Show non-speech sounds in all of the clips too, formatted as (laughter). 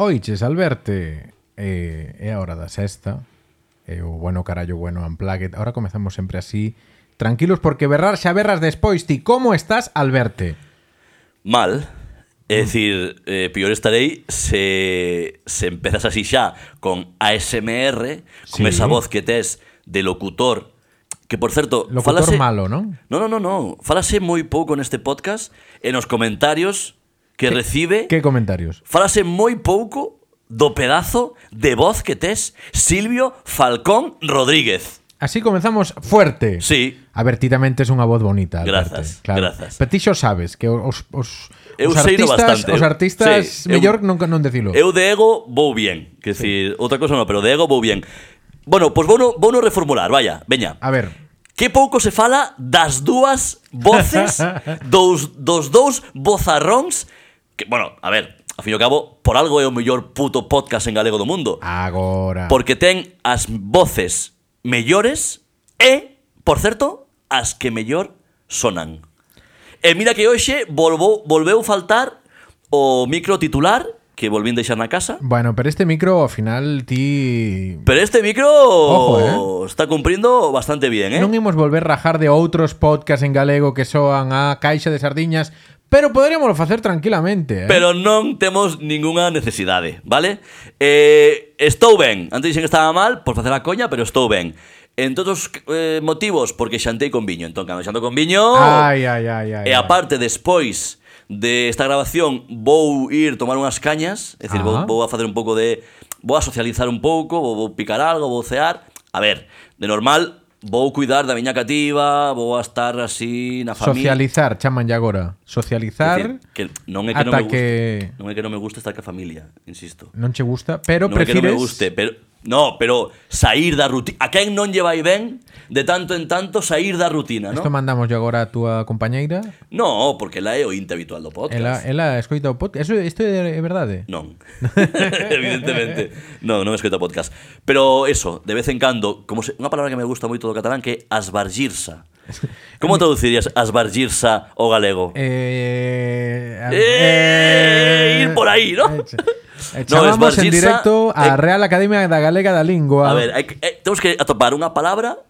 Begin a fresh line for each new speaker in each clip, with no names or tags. Oiches, Alberte, eh, é a hora da sexta E o bueno carallo bueno Unplugged Ahora comezamos sempre así Tranquilos porque berrar xa berras despois Ti, como estás, Alberte?
mal. É dicir, eh, pior estarei se, se empezas así xa con ASMR,
Sí.
con esa voz que tes de locutor, que por certo,
Locutor
falase...
malo, non?
No, no, no, no, falase moi pouco neste podcast e nos comentarios que recibe,
Que comentarios?
falase moi pouco do pedazo de voz que tes Silvio Falcón Rodríguez.
Así comenzamos fuerte
Sí,
A ver, ti tamén tes unha voz bonita Alberto.
Grazas,
claro.
grazas.
Pero ti xo sabes que os, os,
Eu
os
sei do
artistas,
bastante.
os artistas
Sí, eu-
mellor non, non decilo
Eu de ego vou bien. Que decir, outra cosa no, pero de ego vou bien. Bueno, pois vou no, vou no reformular, vaya, veña.
A ver,
Que pouco se fala das dúas voces dos, dos dous bozarróns que, bueno, a ver, a fin e ao cabo, por algo é o mellor puto podcast en galego do mundo.
agora
Porque ten as voces mellores e, por certo, as que mellor sonan. E mira que hoxe volvou, volveu faltar o micro titular que volvín deixar na casa.
Bueno, pero este micro ao final ti
Pero este micro
Ojo, eh.
está cumpriendo bastante bien, ¿eh?
Non imos volver rajar de outros podcasts en galego que soan a caixa de sardiñas, pero poderíamoslo facer tranquilamente, eh?
Pero non temos ningunha necesidade, vale? Eh, estou ben. Antes dixen que estaba mal por facer a coña, pero estou ben. En todos os eh, motivos, porque xantei con viño. Entón, cando xanto con viño...
Ai, ai, ai, ai.
E aparte, despois de esta grabación vou ir tomar unhas cañas, é dicir, vou,
Ajá.
vou a facer un pouco de vou a socializar un pouco, vou, vou picar algo, vou cear. A ver, de normal vou cuidar da miña cativa, vou a estar así na familia.
socializar, chamanlle agora. Socializar
Decir, que non é que non
ata
me guste,
que-
non é que non me guste estar ca familia, insisto.
non che gusta, pero
Non é que
prefires
non me guste, pero no, pero sair da rutina. A quen non lle vai ben de tanto en tanto sair da rutina,
Isto
non?
mandamos agora a túa compañeira.
No, porque ela é o inte habitual do
Ela,
podcast.
ela escoita o podcast. Eso, isto é, é verdade?
Non. (laughs) Evidentemente. Non, non escoito podcast. Pero eso, de vez en cando, como se, unha palabra que me gusta moito do catalán que é
(laughs)
asbargirsa. Como traducirías asbargirsa ao galego?
Eh, a-
Eh, ir por ahí, ¿no?
Eh,
(laughs)
ch- eh,
No,
chamamos en
esparcirse,
directo á
eh,
Real Academia da Galega da Lingua.
A ver, hai, que- eh, temos que atopar unha palabra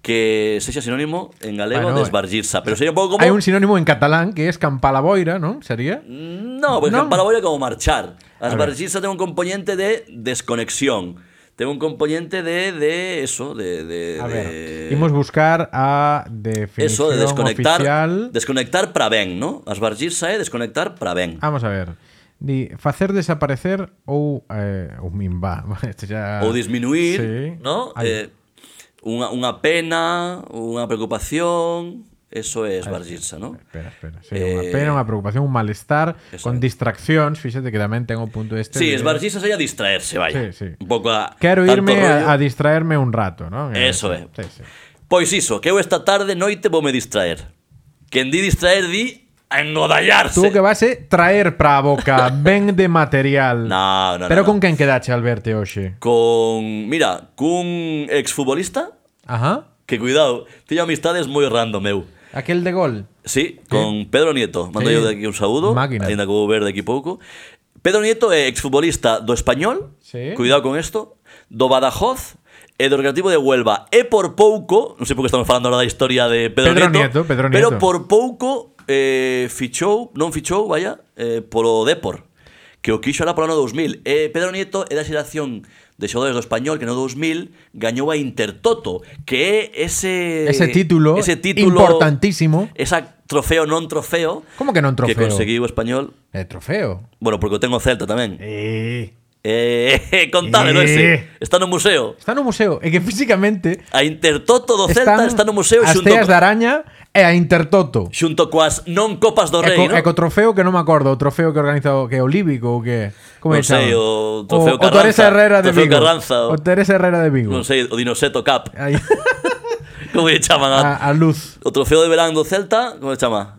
que sexa sinónimo en galego
Bueno,
de esbargirsa. Pero sería un pouco como...
Hay un sinónimo en catalán que es campalaboira, ¿no? ¿Sería?
No, por
No.
ejemplo, voy a como marchar.
ver.
Asbargirsa tiene un componente de desconexión. Tengo un componente de, de eso, de... de-
A
de-
ver, imos buscar a definición
Eh, Eso de desconectar.
oficial.
Desconectar para ben, ¿no? Asbargirse é desconectar para ben.
Vamos a ver. Di, facer desaparecer ou eh, ou minva. (laughs) Este xa...
Ou disminuir,
Sí.
¿no?
Ai.
Eh, unha, unha pena, unha preocupación, eso é esbargirse, ¿no?
Espera, espera. Sí, unha
Eh,
pena, unha preocupación, un malestar,
eso
con
é.
distraccións. Fíxate que tamén ten o punto este.
Sí,
de-
esbargirse sería distraerse, vaya.
Sí, sí.
Un pouco a
Quero
tanto
irme
rollo.
a, a distraerme un rato, ¿no?
Eso
Eh,
é.
Sí, sí.
Pois iso, que eu esta tarde noite voume distraer. Quen di distraer di a engodallarse.
Tú que vas é traer pra
(laughs)
boca, ben de material.
No, no,
Pero
no,
con
no.
quen quedache al verte hoxe?
Con, mira, cun exfutbolista
Ajá.
que cuidado, tiña amistades moi random eu.
Aquel de gol.
Sí, con Pedro Nieto. Mando
Sí.
yo de aquí un saúdo.
Máquina.
Ainda que vou ver de aquí pouco. Pedro Nieto é exfutbolista do Español.
Sí.
Cuidado con esto. Do Badajoz e do Recreativo de Huelva. E por pouco, non sei por que estamos falando agora da historia de Pedro,
Pedro Nieto,
Nieto,
Pedro
pero
Nieto.
por pouco eh, fichou, non fichou, vaya, eh, polo Depor, que o quixo era polo ano 2000. Eh, Pedro Nieto é da xeración de xogadores do Español que no 2000 gañou a Intertoto, que é ese
Ese título,
ese título
importantísimo.
Esa trofeo non trofeo.
Como que non trofeo?
Que conseguiu o español.
Eh, trofeo.
Bueno, porque o tengo Celta tamén.
Eh.
Eh, (laughs) contádelo
Eh.
ese. Está no museo.
Está no museo. É que físicamente
A Intertoto do Oh, Celta
están
está no museo
as
xunto,
teas da araña e a Intertoto.
xunto coas non copas do
E Eh, co, e
rei, non?
co trofeo que non me acordo, o trofeo que organizou que é o Líbico ou que como
Non sei,
chama?
o
o
trofeo
Teresa
Carranza,
Herrera de
trofeo
Vigo.
Carranza, o-
O Teresa Herrera de Vigo.
Non sei, o Dinoseto Cup. (laughs)
Aí,
Como lle chaman a...
a, a luz,
O trofeo de verán do Celta, como lle chama?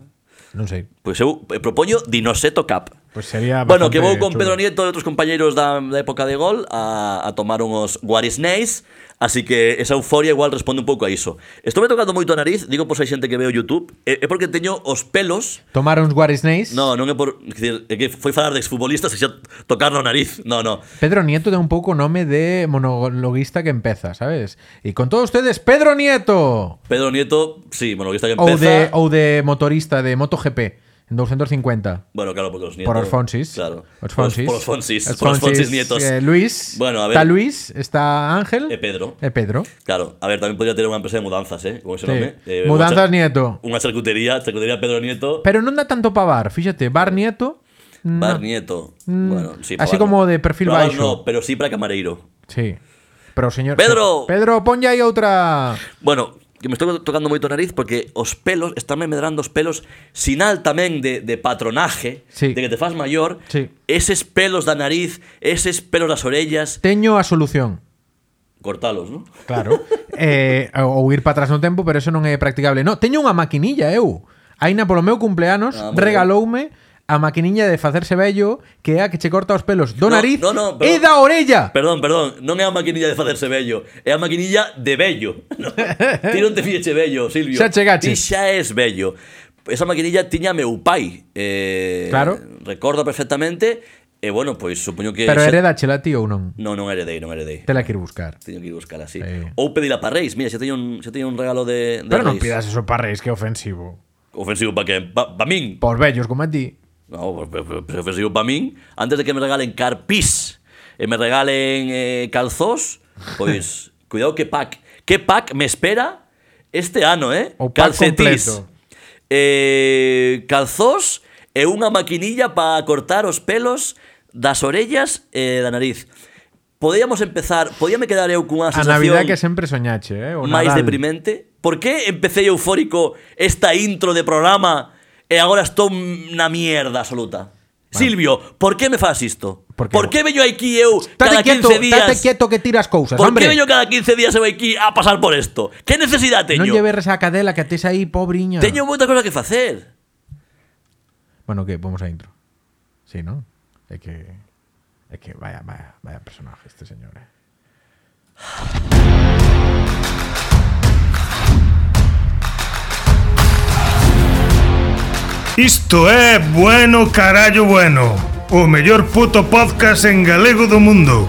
non sei.
Pois eu eh, propoño Dinoseto Cup.
Pois pues sería
Bueno, que
Ah,
vou
bastante
con
chulo.
Pedro Nieto e outros compañeiros da, da época de gol a, a tomar uns guarisneis, así que esa euforia igual responde un pouco a iso. Estou me tocando moito a nariz, digo por se hai xente que veo YouTube, é, é porque teño os pelos
Tomar uns guarisneis.
No, non é por... quer Dicir, é que foi falar de exfutbolistas e xa tocar no nariz. No, no.
Pedro Nieto da un pouco nome de monologuista que empeza, sabes? E con todos ustedes, Pedro Nieto!
Pedro Nieto, sí, bueno, que está que
Ou de,
empeza...
ou de motorista de MotoGP en 250.
Bueno, claro, porque os nietos...
Por os Fonsis.
Claro.
Os Fonsis.
Por os Fonsis. Por os Fonsis nietos.
eh, Luis.
Bueno, a ver.
Está Luis, está Ángel.
E Pedro.
E Pedro.
Claro, a ver, tamén podría ter unha empresa de mudanzas, eh? Con
Sí.
ese nome. Eh,
Mudanzas
unha cha-
Nieto.
Unha charcutería, charcutería Pedro Nieto.
Pero non da tanto pa bar, fíxate, bar Nieto. no.
Bar Nieto.
Mm,
bueno, sí,
así
para bar
como
no.
de perfil
Para bar
baixo.
No, pero sí para camareiro.
Sí. Pero o señor
Pedro!
Pedro, ponlle aí outra.
Bueno, que me estou tocando moito a nariz porque os pelos, están me medrando os pelos, sinal tamén de, de patronaje,
Sí.
de que te faz maior,
Sí.
eses pelos da nariz, eses pelos das orellas,
Teño a solución.
cortalos, non?
Claro. eh, ou ir para atrás no tempo, pero eso non é practicable. No, teño unha maquinilla eu. Aina polo meu cumpleanos
Ah, moi
regaloume a maquinilla de facerse vello que é a que che corta os pelos do
No,
nariz
no, no, pero-
e da orella.
Perdón, perdón, non é a maquinilla de facerse bello, é a maquinilla de bello. (laughs) No, ti non te fieche bello, Silvio.
Xa chegaches.
Ti xa es bello. Esa maquinilla tiña meu pai. Eh,
Claro.
Recordo perfectamente, e bueno, pois supoño que...
Pero
xa-
heredachela ti ou non?
Non, non heredei, non heredei.
Te la quero buscar.
Teño que ir buscar así.
Sí.
Ou pedila para Reis. Mira, xa teño un, xa teño un regalo de, de
Pero non
Reis.
pidas eso para reis, que é ofensivo.
Ofensivo para que? Para pa min.
Por vellos como a ti.
No, pues, pues, pues, pues, ofensivo para min. Antes de que me regalen carpís e me regalen eh, calzós,
(laughs)
pois, cuidado que pack. Que pack me espera este ano, eh?
O pack completo.
eh, calzós e unha maquinilla para cortar os pelos das orellas e da nariz. Podíamos empezar, podíame quedar eu cunha
A
sensación...
Navidad que sempre soñache, eh? O
máis
Nadal.
deprimente? Por que empecé eufórico esta intro de programa e agora estou na mierda absoluta? Silvio, por que me faz isto?
Por que?
Por que veño aquí eu
Tate
cada
quieto,
15 días?
tate quieto que tiras cousas,
por
hombre.
que veño cada 15 días eu aquí a pasar por isto? Que necesidade
Non
teño?
lle berres a cadela que tes aí, pobriña.
Teño moita cosa que facer.
Bueno, que vamos a intro. Sí, ¿no? Es que. Es que vaya, vaya, vaya personaje este señor. eh.
Isto é Bueno Carallo Bueno O mellor puto podcast en galego do mundo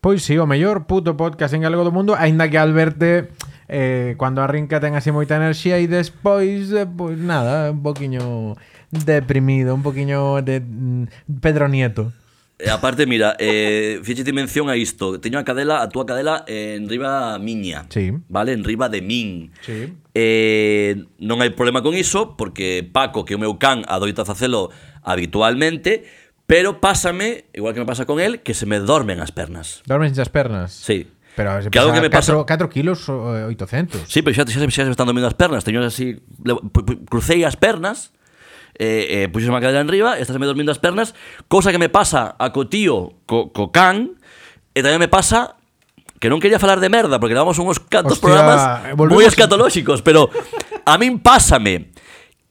Pois sí, o mellor puto podcast en galego do mundo, aínda que Alberte eh, cuando arrinca ten así moita enerxía e despois, eh, pois nada, un poquinho deprimido, un poquinho de mm, Pedro Nieto.
E aparte, mira, eh, fíxete mención a isto. Teño a cadela, a túa cadela, eh, en riba miña.
Sí.
Vale, en riba de min.
Sí.
Eh, non hai problema con iso, porque Paco, que é o meu can, adoita facelo habitualmente, pero pásame, igual que me pasa con él, que se me dormen as pernas.
Dormes as pernas.
Sí.
Pero se
Que algo
pesa
que me pasa-
4, 4 kilos eh, 800.
Sí, pero xa, xa, xa se me están dormindo as pernas. Teño así, le- pu- pu- crucei as pernas, eh, eh, puxes a cadela en riba, estás me dormindo as pernas, cousa que me pasa a co tío, co, co can, e tamén me pasa que non quería falar de merda, porque levamos unhos cantos
Hostia,
programas
eh, volvemos-
moi escatolóxicos, pero a min pásame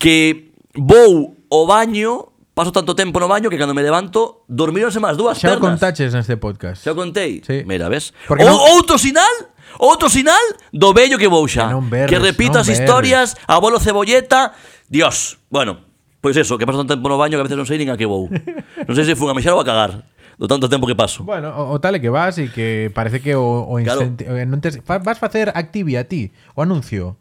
que vou ao baño, paso tanto tempo no baño que cando me levanto, dormíronse máis dúas
Xa o
pernas.
contaches neste este podcast.
Xa o contei?
Sí.
Mira, ves?
Porque
O-
non-
Outro sinal, outro sinal do vello que vou xa.
Que non berres,
que
non
repito as
berres.
historias, abuelo cebolleta, dios. Bueno, pois eso, que paso tanto tempo no baño que a veces non sei nin a que
(laughs)
vou. non sei se fun a mexar ou a cagar, do tanto tempo que paso.
Bueno, o, o tal é que vas e que parece que o, o
Claro.
incenti- eh, non tes- fa- vas facer activia ti, o anuncio.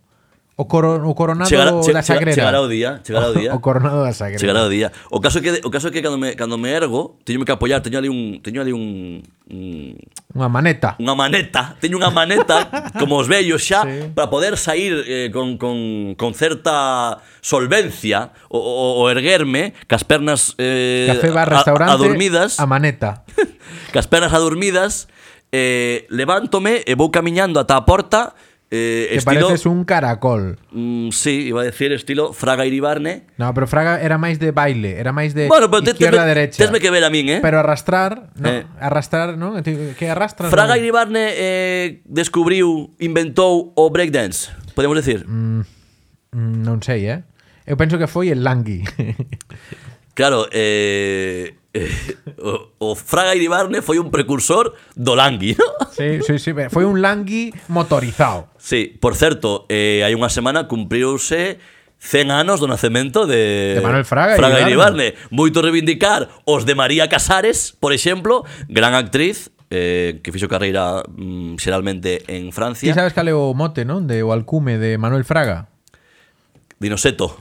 O, coro, o coronado
Chegará- che-
da
chega-
Sagrera.
chegará o día, chegará
(laughs)
o día.
O, coronado da Sagrera.
Chegará o día. O caso é que o caso é que cando me cando me ergo, teño que apoiar, teño ali un teño ali un, un
Unha maneta.
unha maneta, teño unha
(laughs)
maneta como os vellos xa
Sí.
para poder sair eh, con, con, con certa solvencia o, o, o erguerme, cas pernas eh,
Café bar
a-
restaurante.
adormidas,
A maneta.
cas pernas adormidas, eh, levántome e vou camiñando ata a porta Eh,
Que
estilo,
pareces un caracol.
mm, sí, iba a decir estilo Fraga Iribarne.
No, pero Fraga era máis de baile, era máis de
Bueno, pero
Eh,
te-
izquierda a
te-
derecha.
tesme que ver a min, eh.
Pero arrastrar, no,
Eh.
arrastrar, no? Ti- Que arrastras?
Fraga
non?
Iribarne eh, descubriu, inventou o breakdance, podemos decir.
Mm, Non sei, eh. Eu penso que foi el Langui. (laughs)
Claro, eh, eh, (laughs) o, o Fraga Iribarne foi un precursor do Langui, ¿no? (laughs)
sí, sí, sí, pero foi un Langui motorizado.
Sí, por certo, eh, hai unha semana cumpriuse 100 anos do nacemento de,
De Manuel Fraga
Iribarne.
Iribarne.
Moito reivindicar os de María Casares, por exemplo, gran actriz, eh, que fixo carreira mm, xeralmente
Ti
en Francia,
sabes cal é o mote, non? De o alcume de Manuel (laughs) Fraga.
Dinoseto.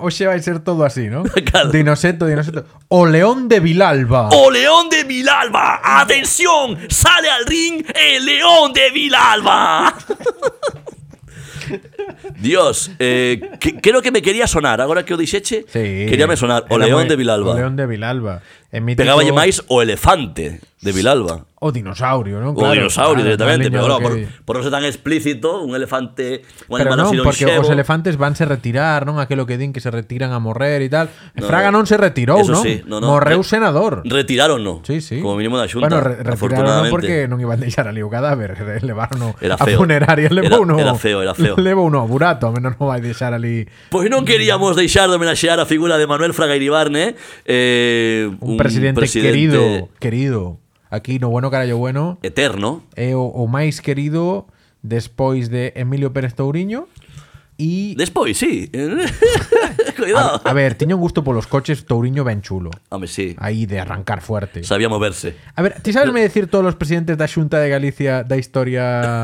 Oxe vai ser todo así, non?
(laughs) Claro. Oh,
Dinoseto, Dinoseto. O León de Vilalba.
¡O León de Vilalba! ¡Atención! ¡Sale al ring el León de Vilalba! (laughs) Dios, eh, que- creo que me quería sonar. Ahora que o dixeche,
Sí.
queríame sonar. O
Era
León
moi-
de Vilalba.
O León de Vilalba. E mítico-
Pegáballe máis o elefante de Vilalba.
O dinosaurio, non?
O dinosaurio
claro, Ah, máis
directamente, pero
liñado
claro, por,
que-
por non ser tan explícito, un elefante,
Pero
un animal
non,
así non
porque
xevo.
os elefantes vanse retirar, non? Aquelo que din que se retiran a morrer e tal. E Fraga non se retirou,
eh, Eso
non?
sí, no, no.
Morreu
Re-
senador.
Retiráronno.
sí, sí.
Como mínimo da xunta,
Bueno, re retiraron
afortunadamente.
porque non iban a deixar ali o cadáver, levaron
Era
a
feo.
funeraria,
Era-
levou uno.
era feo, era feo.
Levou uno a burato, ao menos non vai deixar ali
Pois non Pues queríamos deixar de homenaxear a figura de Manuel Fraga Iribarne eh,
un, presidente, querido, querido. Aquí no bueno carallo bueno
eterno
é o, o máis querido despois de Emilio Pérez Touriño e
Despois, sí (laughs) Cuidado
a, a ver, tiña un gusto polos coches Touriño ben chulo.
Home, sí,
Aí de arrancar fuerte.
sabía moverse
A ver, ti sabes me decir todos os presidentes da Xunta de Galicia da
(laughs)
historia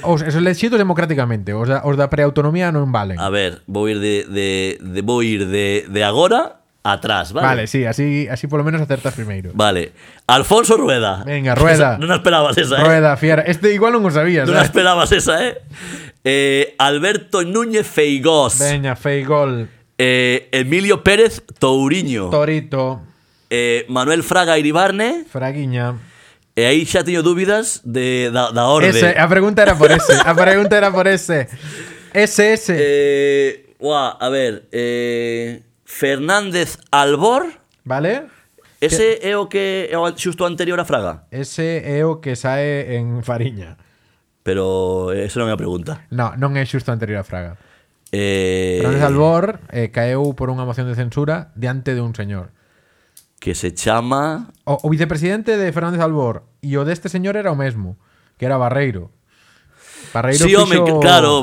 os, os elexidos democráticamente, os da, os da preautonomía non valen.
A ver, vou ir de, de, de vou ir de, de agora atrás,
Vale,
vale?
sí, así así polo menos acertas primeiro.
Vale. Alfonso Rueda.
Venga, Rueda.
(laughs) Esa- Non a esperabas esa, eh?
Rueda, fiera. Este igual non o sabías.
Non a
eh?
esperabas esa, eh? eh Alberto Núñez Feigós.
Veña, Feigol,
Eh, Emilio Pérez Touriño.
Torito,
eh, Manuel Fraga Iribarne.
Fraguiña.
E aí xa teño dúbidas de, da, da orde.
Ese, a pregunta era por ese. A pregunta era por ese. Ese, ese.
Eh, uá, a ver, eh, Fernández Albor,
¿Vale?
ese é o que é o xusto anterior a Fraga.
Ese é o que sae en Fariña.
Pero esa non é a pregunta.
No, non é xusto anterior a Fraga.
Eh,
Fernández Albor eh, caeu por unha moción de censura diante dun señor.
Que se chama...
O, o vicepresidente de Fernández Albor e o deste señor era o mesmo, que era Barreiro. Barreiro
Sí, home,
fixo
claro,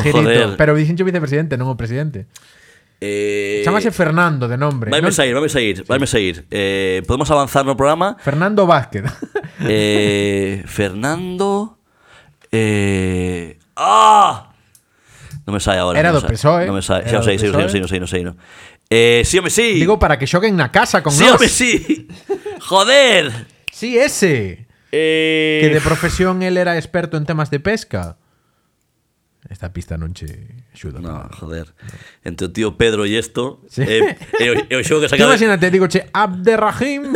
el girito,
joder.
Pero dixenche vicepresidente, non o presidente.
Eh,
Chámase Fernando de nombre. non-
Vaime sair, vaime sair, vaime sair. Eh, podemos avanzar no programa.
Fernando Vázquez.
Eh, Fernando... Eh, ¡Ah! Non me sai agora.
Era do
non me sai,
PSOE,
Non me sai.
era
Xa o
do
sei, sei, sei,
PSOE.
sei, sei, sei, sei, no. Eh, sí, home, (laughs) sí.
Digo para que xoguen na casa con
Sí,
nós.
home, sí. Joder.
Sí, ese.
Eh,
Que de profesión él era experto en temas de pesca. Esta pista non che xuda.
No, joder. Entre o tío Pedro e isto...
Sí.
Eh, e, o- e o xogo
(laughs)
que
Tú
sacaba...
imagínate, digo, che,
(laughs)
Abderrahim.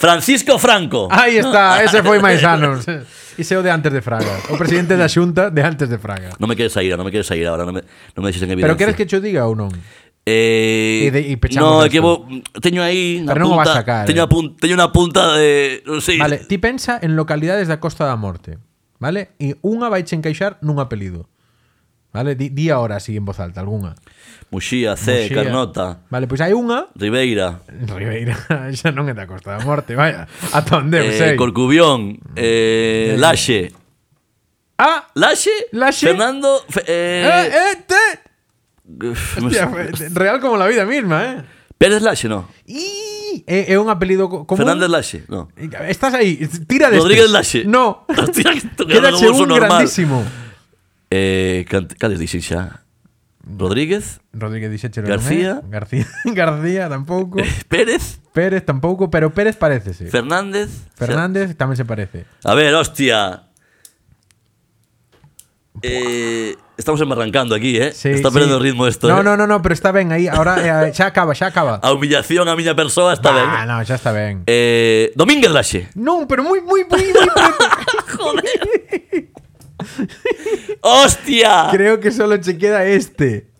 Francisco Franco.
Aí está, ese foi máis anos. (laughs) Ese é o de antes de Fraga. O presidente da xunta de antes de Fraga.
Non me queres sair, non me queres sair agora, non me, non me deixes en evidencia.
Pero queres que cho diga ou non? E
Eh,
de- e pechamos
no,
esto.
é que vou, teño aí na
Pero non o
punta,
vas a sacar, eh.
teño, a pun- teño una punta de, non sei.
Vale, ti pensa en localidades da Costa da Morte, vale? E unha vai che encaixar nun apelido. Vale? Di, di ahora así en voz alta, algunha.
Muxía,
Muxía.
C, Carnota,
Vale, pois hai unha
Ribeira,
Ribeira (laughs) xa non é da Costa da Morte, vaya. Ata onde eu
eh,
sei.
Corcubión, eh, Laxe.
Ah,
Laxe,
Laxe?
Fernando, fe-
eh,
eh,
eh, te...
uf,
Eh. Hostia, real como la vida misma, eh.
Pérez Laxe, no.
E é, é un apelido co- común.
Fernández Laxe, no.
(laughs) Estás aí, tira de este.
Rodríguez Laxe.
No.
Hostia, esto que era
Quédache un
como normal.
grandísimo.
Eh, cant- cales dixen xa?
Mm.
Rodríguez,
Rodríguez Dixeche
García.
García. (laughs) García tampouco.
eh, Pérez,
Pérez tampouco, pero Pérez parecese.
Fernández.
Fernández tamén se parece.
A ver, hostia. Eh, Estamos embarrancando aquí, eh?
Sí,
está perdendo
sí.
ritmo esto.
No,
eh?
no, no, no, pero está ben aí. Ahora
(laughs)
eh, xa acaba, xa acaba.
A humillación a miña persoa está ben.
Ah, no, xa está ben.
Eh, Domínguez Laxe.
(laughs) Non, pero moi moi moi moi
(laughs)
preto.
¡Hostia!
Creo que solo che queda este.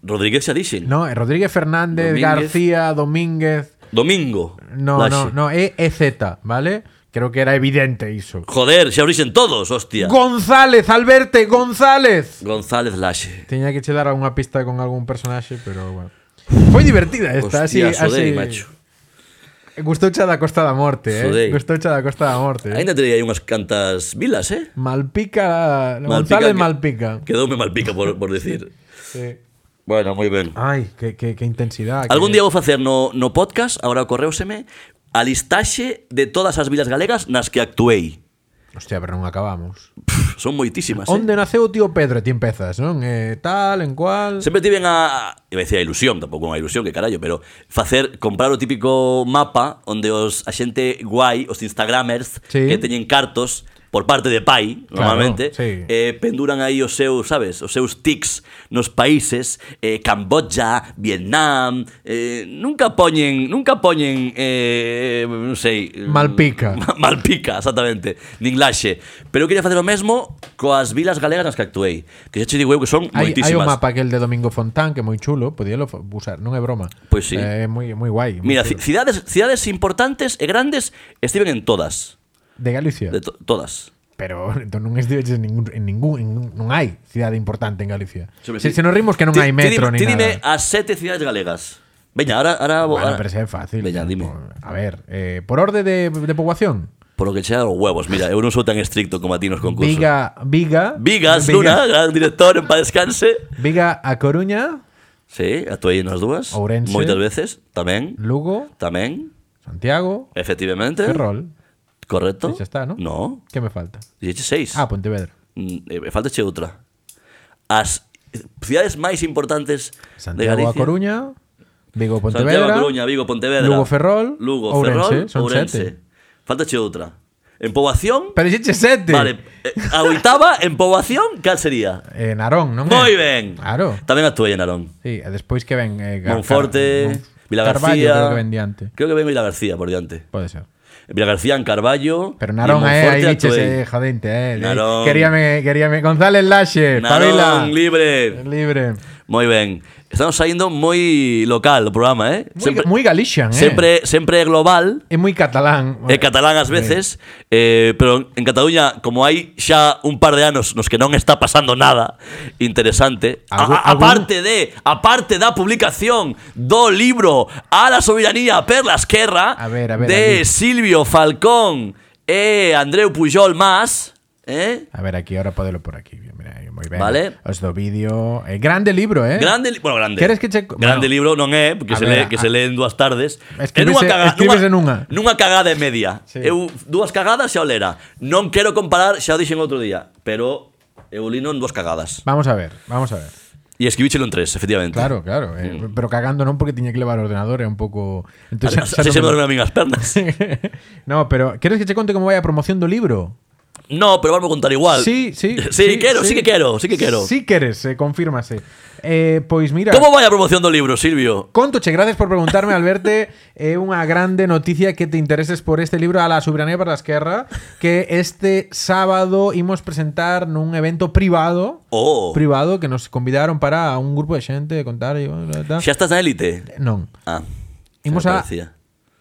Rodríguez xa dixen.
No, eh, Rodríguez Fernández,
Domínguez.
García, Domínguez.
Domingo.
No,
Laxe.
no, no, E E Z, ¿vale? Creo que era evidente iso.
Joder, xa o dixen todos, hostia.
González, Alberto González.
González Laxe.
Tenía que che dar alguna pista con algún personaje, pero bueno. Foi divertida esta,
Hostia,
así,
joder,
así.
macho.
Gustoucha da Costa da Morte, eh.
Xodei.
Gustoucha da Costa da Morte. eh.
Ainda tería aí unhas cantas vilas, eh?
Malpica,
Malpica
González
que-
Malpica.
Quedoume mal pica por, por decir.
Sí.
Bueno, moi ben.
Ai, que, que, que intensidade.
Algún
que-
día vou facer no, no podcast, agora correuseme, a listaxe de todas as vilas galegas nas que actuei.
Hostia, pero non acabamos.
Pff, Son moitísimas, eh?
Onde naceu o tío Pedro? Ti empezas, non? Eh, tal, en cual...
Sempre tiven a, iba a decir a ilusión, tampouco unha ilusión, que carallo, pero facer, comprar o típico mapa onde os a xente guai, os instagramers,
Sí.
que teñen cartos por parte de pai,
Claro,
normalmente,
sí.
eh, penduran aí os seus, sabes, os seus tics nos países, eh, Camboya, Vietnam, eh, nunca poñen, nunca poñen, eh, non sei... eh,
Malpica.
(laughs) Ma- Malpica, exactamente, nin laxe. Pero eu quería facer o mesmo coas vilas galegas nas que actuei, que xa che digo eu que
Hai,
son
hai un
moitísimas.
mapa aquel de Domingo Fontán que é moi chulo, podíalo fa- usar, non é broma.
Pois sí.
Eh, É moi moi guai. moi
Mira, ci-
chulo.
cidades, cidades importantes e grandes estiven en todas.
de Galicia.
De to- todas.
Pero (laughs) entón non estiveches en ningún, en ningún en, nun- non hai cidade importante en Galicia.
Sobre
Se,
ti-
se nos rimos que non
Ti-
hai
ti
metro
dime-
ni
ti dime
nada.
as sete cidades galegas. Veña, ahora... ahora vou-
Bueno,
ahora-
pero se é fácil.
Veña, dime.
Por- A ver, eh, por orde de, de poboación.
Por lo que chea os huevos, mira, eu non sou tan estricto como a ti nos concursos.
Viga, Viga.
Vigas, Luna, gran director, en paz descanse.
Viga a Coruña,
Sí, actuei nas dúas.
Ourense.
Moitas veces, tamén.
Lugo,
Tamén,
Santiago,
efectivamente.
Ferrol.
Correcto.
Sí, xa Pues está, ¿no?
No,
Que me falta?
dixeche seis.
Ah, Pontevedra.
Mm, eh, falta che outra. As cidades máis importantes de
Santiago
Galicia.
a Coruña, Vigo
Santiago,
Pontevedra.
a Coruña, Vigo, Pontevedra.
Lugo, Ferrol,
Lugo,
Ourense,
Ferrol,
son
Ourense.
sete.
Falta che outra. En poboación,
Pero dixeche sete.
vale, eh, a oitava en poboación, cal sería?
Eh, Narón, non é?
Moi ben.
Claro.
Tamén actuei en Narón.
Sí, e despois que ven eh, Gar- Car-
Monforte,
Mon-
Vila
Carballo,
García.
creo que ven diante.
Creo que ven Vila García por diante.
Pode ser.
Vila García en Carballo.
Pero
y en
Narón, eh, aí
Monforte
diches,
actuei.
eh, jodente, eh.
Narón.
Queríame, queríame. González Laxe, Pavila.
Narón libre.
Libre.
Moi ben. Estamos saindo moi local o programa, eh?
Moi, moi Galician, eh.
sempre, sempre global.
É moi catalán.
É catalán ás veces, eh, pero en Cataluña, como hai xa un par de anos nos que non está pasando nada interesante, a,
Algú-
a- aparte de, aparte da publicación do libro A la soberanía per la esquerra
A ver, a ver,
de
aquí.
Silvio Falcón e Andreu Pujol más, eh?
A ver, aquí, ahora podelo por aquí. Mira, aí, moi ben.
Vale.
Os do vídeo. Eh, grande libro, eh.
Grande, li- bueno, grande.
Queres que che- bueno.
Grande libro non é, porque
A
se,
ver,
lee, que
a-
se lee en dúas tardes.
Escribes- escribes en unha.
Nunha cagada e media.
Sí.
Eu dúas cagadas xa o lera. Non quero comparar, xa o dixen outro día, pero eu lino en dúas cagadas.
Vamos a ver, vamos a ver.
E escribíchelo en tres, efectivamente.
Claro, claro. eh, Pero cagando non porque tiña que levar o ordenador, é un pouco... Entón, xa- xa
Así se me
non-
dormen a min as
(laughs)
pernas.
no, pero queres que che conte como vai a promoción do libro?
no, pero vamos a contar igual.
Sí, sí.
(laughs) Sí, quero, sí que quero, sí que quero.
Sí queres, eh, confírmase. Eh, pois mira,
Como vai a promoción do libro, Silvio?
contoche, gracias por preguntarme, Alberto. É unha grande noticia que te intereses por este libro a la soberanía para a esquerra, que este sábado imos presentar nun evento privado,
Oh,
privado que nos convidaron para un grupo de xente de contar e bueno, tal.
xa estás na élite.
Non,
Ah, xa
Imos
me
a-
parecía.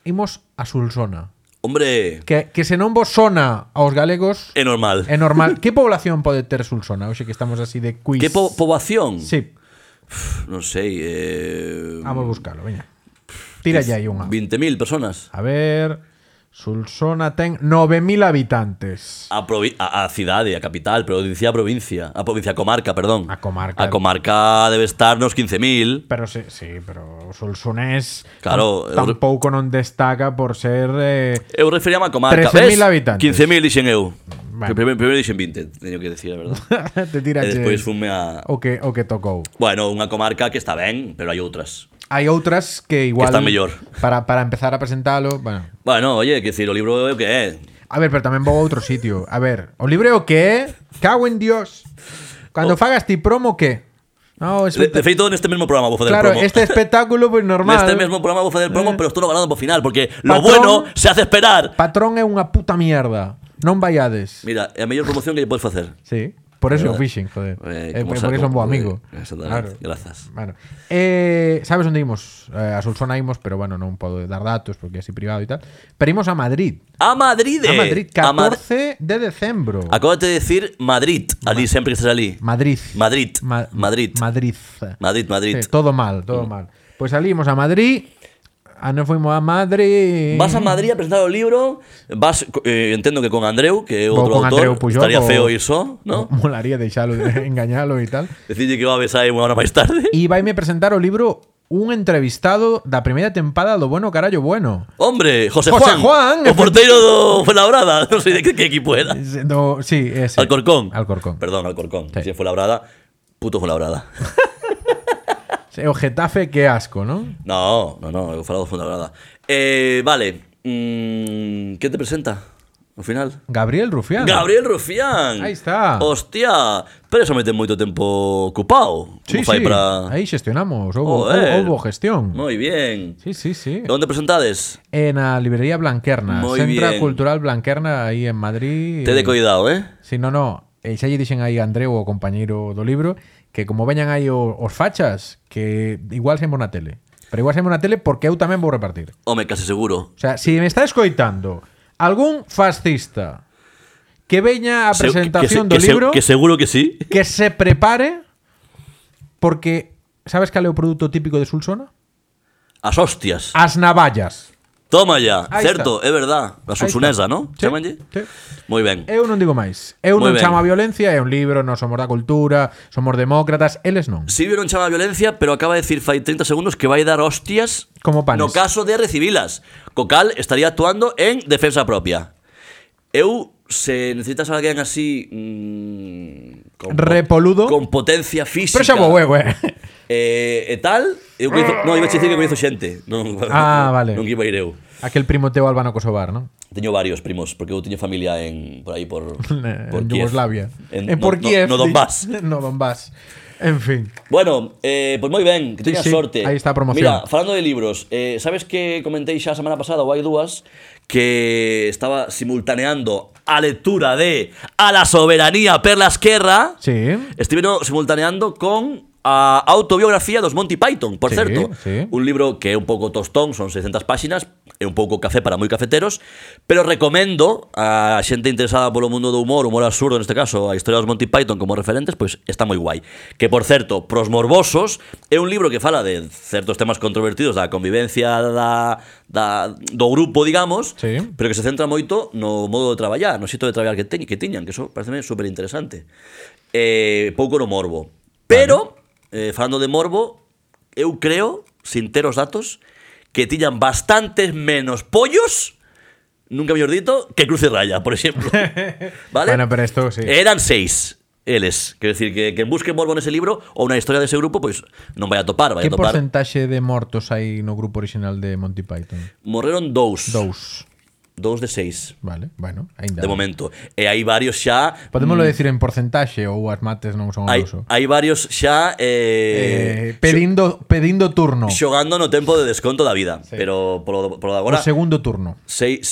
imos a Sulsona.
Hombre,
Que, que se non vos sona aos galegos,
é normal.
é normal. que población pode ter Sulsona? Oxe que estamos así de quiz.
Que po poboación?
Sí,
Non sei, eh...
vamos a buscalo, veña. Tira ya aí unha.
20.000 personas.
A ver, Sulsona ten 9000 habitantes.
A, provi- a, a cidade, a capital, pero eu dicía a provincia. A provincia, a comarca, perdón.
A comarca.
A comarca debe estar nos 15.000.
Pero sí, sí, pero o Sulsonés
Claro,
tam- tampouco non destaca por ser eh, (laughs)
Eu referíame a comarca.
13.000
ves?
habitantes.
15.000 dixen eu.
Vale.
Primeiro, primeiro dixen 20, teño que decir a
(laughs)
verdade.
te
e
tira
despois fume a...
o que o que tocou.
Bueno, unha comarca que está ben, pero hai outras.
Hai outras que igual
están mellor.
Para, para empezar a presentalo, bueno.
Bueno, oye, que decir, o libro é o que é.
A ver, pero tamén vou a outro sitio. A ver, o libro é o que é? Cago en Dios. Cando
Oh.
fagas ti promo, que? No,
De, de feito, neste mesmo programa vou fazer
Claro,
el promo.
este espectáculo, pois normal. Eh.
Neste mesmo programa vou fazer el promo, pero estou no ganando por final, porque
Patrón.
lo bueno se hace esperar.
Patrón é unha puta mierda. Non vaiades.
Mira, é a mellor promoción que lle podes facer.
Sí. Por eso é o
Verdad.
fishing, joder. Eh,
Eh, como
por
saco,
eso é un bo
eh,
amigo.
exactamente. Grazas.
Bueno. Eh, sabes onde imos? Eh, a Solsona imos, pero bueno, non podo dar datos porque é así privado e tal. Pero imos a Madrid.
A Madrid.
A Madrid,
A Mad-
14 de decembro.
Acabas de decir Madrid, ali sempre que estés ali.
Madrid.
Madrid.
Ma-
Madrid.
Madrid.
Madrid, Mm. Madrid.
Sí, todo mal, todo mal. Pois pues salimos a Madrid. A non fuimos a Madrid.
Vas a Madrid a presentar o libro, vas co- eh, entendo que con Andreu, que é
Vou
outro
con
autor,
Andreu Pujol,
estaría
vou-
feo ir só, ¿no?
(laughs) Molaría deixalo, (laughs) engañalo e tal.
Decirlle que va a besar unha hora
(laughs)
máis tarde.
E vaime presentar o libro un entrevistado da primeira tempada do Bueno Carallo Bueno.
Hombre, José,
José
Juan,
Juan,
o porteiro do Fuenlabrada, (laughs) non sei de que, que equipo era.
Do, sí, ese.
Alcorcón.
Alcorcón.
Perdón, Alcorcón.
Sí.
Si fue labrada, puto fue labrada.
Sí, O Getafe, que asco, ¿no?
No, no, no, eu falado fue labrada. Eh, vale. Mm, ¿Qué te presenta? Al final.
Gabriel Rufián.
Gabriel Oh, Rufián.
Ah. Ahí está.
Hostia, pero eso mete moito tempo ocupado.
Sí, sí. Ahí gestionamos. Hubo,
Joder.
hubo- hubo gestión.
Muy bien.
Sí, sí, sí.
¿Dónde presentades?
En la librería Blanquerna.
Muy
Centro
bien.
Cultural Blanquerna, ahí en Madrid.
Te de cuidado, ¿eh?
Si no, no. E xa lle dixen aí a Andreu, o compañeiro do libro, que como veñan aí o- os fachas, que igual semos na tele. Pero igual semos na tele porque eu tamén vou repartir.
Home, casi seguro.
O sea, si me está escoitando algún fascista que veña a
Se- que-
presentación do
que, se-
libro,
Que seguro que sí.
que se prepare porque sabes cal é o produto típico de Sulsona?
As hostias.
As navallas.
Toma ya.
Ah. Ahí
Certo, é verdad. A Susunesa, ¿no?
Sí,
Chámanlle?
sí.
Moi ben.
Eu non digo máis. Eu non
Moi ben.
chamo a violencia, é un libro, non somos da cultura, somos demócratas, eles non.
Silvio non chama a violencia, pero acaba de decir fai 30 segundos que vai dar hostias
Como panes.
no caso de recibilas. Co cal estaría actuando en defensa propia. Eu, se necesitas alguén así... mm, con, po-
Repoludo.
Con potencia física.
Pero xa vou eu, eh.
Eh, e tal, eu coñezo, non, iba a dicir que coñezo xente. (laughs) Non,
Ah, vale.
Non que iba a ir eu.
Aquel primo teu Albano Kosovar, non?
Teño varios primos, porque eu teño familia en por aí por,
(laughs)
por
en
Kiev.
Yugoslavia.
En,
En,
no-
por
no-
Kiev.
No,
di-
Donbass.
(laughs) no Donbass. En fin.
Bueno, eh, pois moi ben, que
Sí,
teñas
sí,
sorte.
aí está a promoción.
Mira, falando de libros, eh, sabes que comentei xa a semana pasada, ou hai dúas, que estaba simultaneando a lectura de A la soberanía per la esquerra.
Sí.
Estive no, simultaneando con a autobiografía dos Monty Python, por
Sí,
certo.
sí.
Un libro que é un pouco tostón, son 600 páxinas, é un pouco café para moi cafeteros, pero recomendo a xente interesada polo mundo do humor, humor absurdo neste caso, a historia dos Monty Python como referentes, pois está moi guai. Que, por certo, pros morbosos, é un libro que fala de certos temas controvertidos da convivencia da, da, do grupo, digamos,
Sí.
pero que se centra moito no modo de traballar, no xito de traballar que, teñ, que tiñan, que eso pareceme super interesante. Eh, pouco no morbo. Pero, eh, falando de morbo, eu creo, sin ter os datos, que tiñan bastantes menos pollos, nunca mellor dito, que Cruz e Raya, por
(laughs)
exemplo. vale? Eh,
Bueno, pero esto sí.
Eran seis. Eles, quero dicir que que busque morbo nese libro ou na historia dese grupo, pois non vai a topar, vai
Que
a topar.
porcentaxe de mortos hai no grupo original de Monty Python?
Morreron dous,
Dous.
dous, dous de seis.
Vale, bueno, ainda.
De momento. E hai varios xa
Podemoslo decir en porcentaxe ou as mates non son o
hai,
uso.
hai varios xa
Eh,
eh,
pedindo, pedindo turno.
xogando no tempo de desconto da vida, pero polo, polo de
O
agora
segundo turno.
6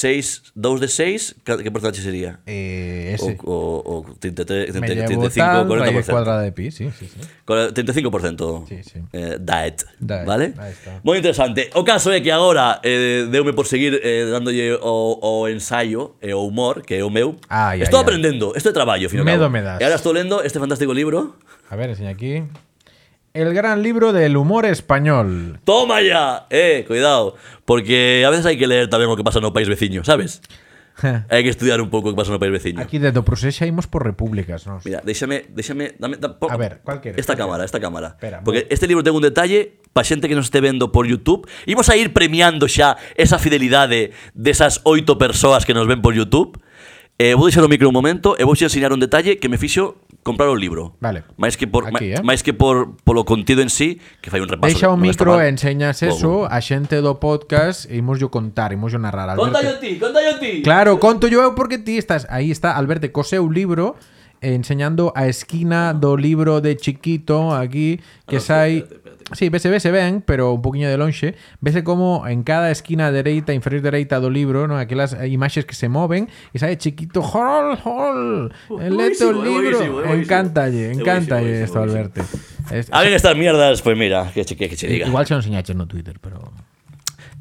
6 2 de 6, que porcentaxe sería?
Eh,
O,
ese.
o, o 33,
Me
30,
llevo tal,
35,
raíz
40%.
cuadrada de pi, sí, sí, sí.
Cora- 35%
Sí, sí.
Eh, diet,
Diet,
vale?
ahí está.
Moi interesante. O caso é que agora eh, deume por seguir eh, dándolle o, o ensaio e o humor, que é o meu.
Ai, ai,
estou
ai.
aprendendo, isto é traballo, ao fin e ao
Ah, Medo
cabo.
me das.
E agora estou lendo este fantástico libro.
A ver, enseña aquí. El gran libro del humor
(laughs)
español.
Toma ya, eh, cuidado, porque a veces hay que leer tamén o que pasa no país veciño, ¿sabes? Hay que estudiar un pouco o que pasa no país veciño.
Aquí desde Prosés imos por repúblicas, ¿no?
Mira, déxame, déxame, dame, da- po-
A ver, ¿cuál quieres?
Esta
¿Cuál
cámara, esta cámara.
Espera,
porque
voy.
este libro ten un detalle para xente que nos esté vendo por YouTube. Imos a ir premiando xa esa fidelidade desas oito persoas que nos ven por YouTube. Eh, vou deixar o micro un momento e vou xa enseñar un detalle que me fixo comprar o libro.
Vale.
Máis que por
Aquí, eh.
ma- máis que por polo contido en sí, que fai un repaso.
Deixa o
non está
micro
mal.
e enseñas
Vou,
eso
vou.
a xente do podcast e imos yo contar, imos yo narrar.
Conta
Alberto.
yo ti, conta yo ti.
Claro, conto yo eu porque ti estás... Aí está Alberto co seu libro eh, enseñando a esquina do libro de chiquito aquí que
Ah,
sai
espérate, espérate.
Sí, vese, vese ben, pero un poquinho de lonxe Vese como en cada esquina dereita Inferior dereita do libro non? Aquelas eh, imaxes que se moven E sai chiquito Jol, jol
Uy,
Leto o libro
buenísimo, é buenísimo, é buenísimo.
Encántalle,
É
encántalle
buenísimo,
esto
buenísimo,
Alberto Es-
Alguien estas mierdas, pues mira, que, se- que, que se diga.
Igual son enseñaches no Twitter, pero...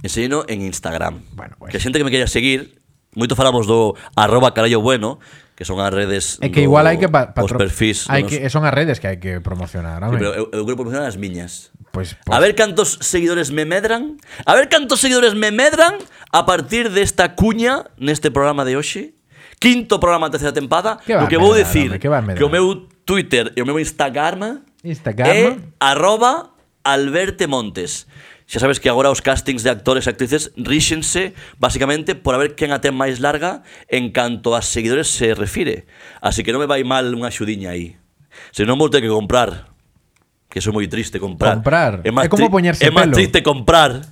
Enseño en Instagram.
Bueno, pues.
Que xente que me queira seguir, moito falamos do arroba carallo bueno, que son as redes
É que
do-
igual hai que pa,
os
patro-
perfis.
hai
dos-
que, son as redes que hai que promocionar. Pues, home.
Sí, pero eu, eu quero promocionar as miñas.
Pois- pois-
A ver cantos seguidores me medran. A ver cantos seguidores me medran a partir desta cuña neste programa de hoxe. Quinto programa da terceira tempada.
Que va
o que
a
vou
medrar,
decir
home, que va a medrar.
que o meu Twitter e o meu Instagram
Instagram.
é Eh, arroba Alberte Montes. Xa sabes que agora os castings de actores e actrices ríxense basicamente por a ver quen a ten máis larga en canto a seguidores se refire. Así que non me vai mal unha xudiña aí. Se non vou ter que comprar que eso é moi triste comprar.
Comprar. É como
tri-
poñerse
É máis
pelo.
triste comprar.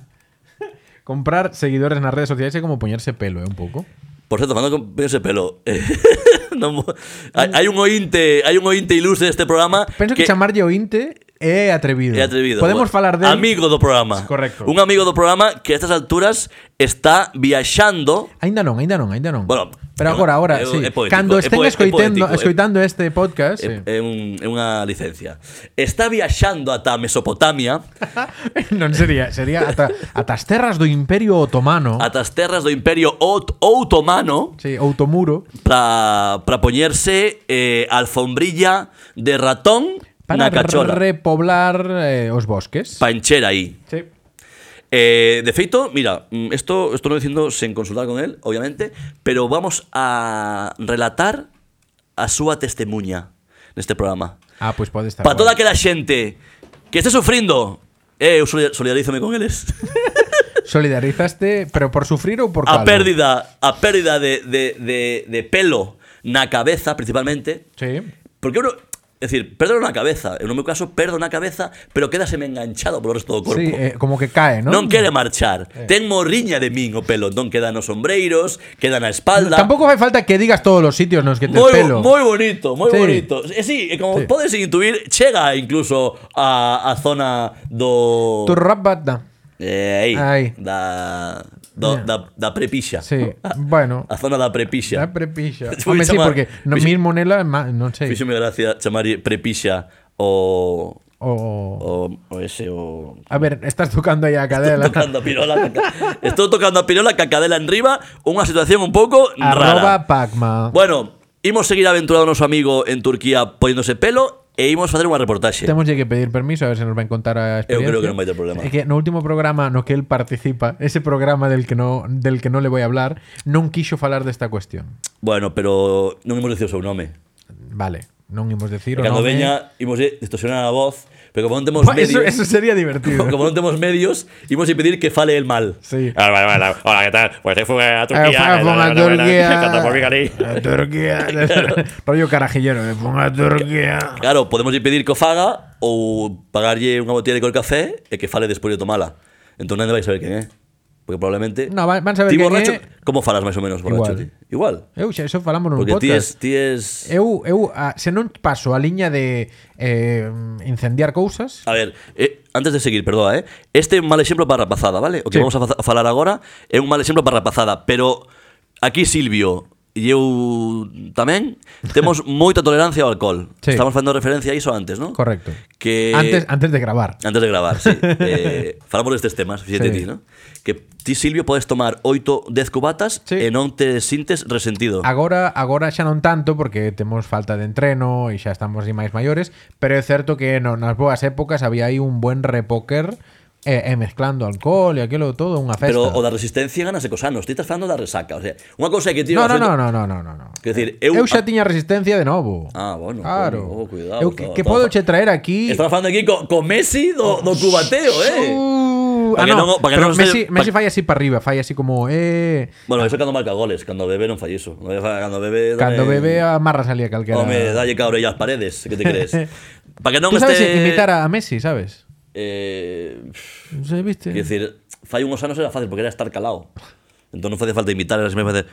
Comprar seguidores nas redes sociais é como poñerse pelo, é un pouco.
Por certo, cando poñerse pelo. (laughs) eh, non, mo- hai, hai un ointe, hai un ointe ilustre deste programa
Penso que, chamarlle ointe é atrevido.
É atrevido.
Podemos
Bueno,
falar del
Amigo do programa.
Correcto.
Un amigo do programa que a estas alturas está viaxando
Ainda non, ainda non, ainda non.
Bueno,
pero
é-
agora, agora,
é-
sí.
é poético,
Cando
é
estén
poé- é
escoitando,
poético, é-
escoitando este podcast, sí.
É, é eh, un, é unha licencia. Está viaxando ata Mesopotamia,
Oh.
(laughs)
non sería, sería ata, ata as terras do Imperio Otomano,
ata as terras do Imperio Ot Outomano,
sí, Outomuro,
para para poñerse eh, alfombrilla de ratón
para
na cachola.
repoblar eh, os bosques.
Pa encher aí.
sí.
Eh, de feito, mira, mm, esto esto no diciendo sen consultar con él, obviamente, pero vamos a relatar a súa testemunha neste programa.
Ah, pois pode estar.
Para
guai.
toda aquela xente que esté sufrindo, eh, eu solidar- solidarízome con
(laughs)
eles.
Solidarizaste, pero por sufrir ou por
a
calvo?
pérdida, a pérdida de, de, de, de pelo na cabeza principalmente,
Sí.
porque uno, es decir, perdo na cabeza, en no meu caso perdo na cabeza, pero quédaseme enganchado polo resto do corpo.
Sí, eh, como que cae, ¿no?
Non quere marchar.
Eh.
Ten morriña de min o pelo. Non queda nos sombreiros, queda na espalda.
Tampoco hace falta que digas todos los sitios en los que te
moi, bo-
pelo.
moi bonito, moi
Sí.
bonito. E sí, e como
Sí.
podes intuir, chega incluso a, a zona do...
Tu rapata.
Eh, aí,
Ai.
Da, do, da, da prepixa. (laughs)
Sí, bueno.
A zona da prepixa.
La prepixa.
Vou
Hombre, sí,
chamar-
porque no,
fixo-
mismo nela, ma- no sé.
Fíxome gracia chamar prepixa o...
O,
O, o ese, o...
a ver, estás tocando ahí a cadela.
Tocando a pirola. caca- Estou tocando a pirola, cacadela en riba, unha situación un pouco
(laughs)
rara.
Arroba Pacma.
Ah. Bueno, imos seguir aventurado o noso amigo en Turquía poñéndose pelo e imos facer unha reportaxe.
Tenemos que pedir permiso a ver si nos va a contar a
Eu
experiencia.
creo que non vai ter problema.
É que no último programa no que él participa, ese programa del que no del que no le voy a hablar, non quixo falar desta cuestión.
Bueno, pero non imos dicir o seu nome.
Vale, non imos decir
E
o
Cando
nome. (laughs)
veña, imos de- distorsionar a voz, pero como non temos
Buah, eso,
medios...
eso sería divertido.
(laughs) Como non temos medios, imos impedir que fale el mal.
Sí.
Ah, vale, vale, vale. Hola, ¿qué tal? Pues se fue a Turquía.
Eh,
ah,
fue- fue a Turquía.
eh,
Eh.
Canta por mi cariño.
A
(laughs)
Turquía. Rollo carajillero. Me pongo a Turquía.
Claro, podemos impedir que o faga ou pagarlle unha botella de col café e que fale despois de tomala. Entón non vais saber quen é. Porque probablemente...
No, van- van saber
Ti
quen
borracho,
é.
Como falas máis ou menos,
Igual.
borracho? ti? Igual.
Eu, xa, eso falamos nun
Porque ti
podcast.
es... Ti es...
Eu, eu a, se non paso a liña de eh, incendiar cousas,
A ver, eh, antes de seguir, perdoa, eh. Este é un mal exemplo para a rapazada, vale? O que
Sí.
vamos a fa- a falar agora é un mal exemplo para a rapazada, pero aquí Silvio e eu tamén temos
(laughs)
moita tolerancia ao alcohol.
Sí.
Estamos facendo referencia a iso antes, non?
correcto.
Que
Antes, antes de gravar.
Antes de gravar,
(laughs)
sí. Eh, falamos destes temas, fíxate
Sí.
ti, ¿no? Que ti, Silvio, podes tomar 8, 10 cubatas
Sí.
e non te sintes resentido.
Agora agora xa non tanto porque temos falta de entreno e xa estamos así máis maiores, pero é certo que no, nas boas épocas había aí un buen repóquer eh, eh, mezclando alcohol e aquilo todo, unha festa.
Pero o da resistencia ganase cosanos. Ti estás falando da resaca. O sea, unha cousa é que ti...
no, no, no, no, no, no, no, no.
Quer dicir,
Eh, Eu,
eu-
xa tiña resistencia de novo.
Ah, bueno.
Claro.
coño, oh, cuidado.
eu, que,
estaba-
que
estaba-
podo Oh, che traer aquí...
Estamos falando aquí co, co Messi do, do cubateo, eh.
Uh, ah,
Pa que
no,
non- pa que
pero
non se-
Messi,
pa-
Messi falla así para arriba, falla así como... Eh,
Bueno, eso cando marca goles, cando bebe non fai iso. Cando bebe- Cando bebe
cando bebe amarra salía calquera.
Home, dalle cabre as paredes, que te
(laughs)
crees? Para que non
Tú sabes
este
imitar a Messi, sabes?
eh,
Sí, viste?
quer decir, fai unhos anos era fácil porque era estar calado. Entón non facía falta imitar, era sempre facer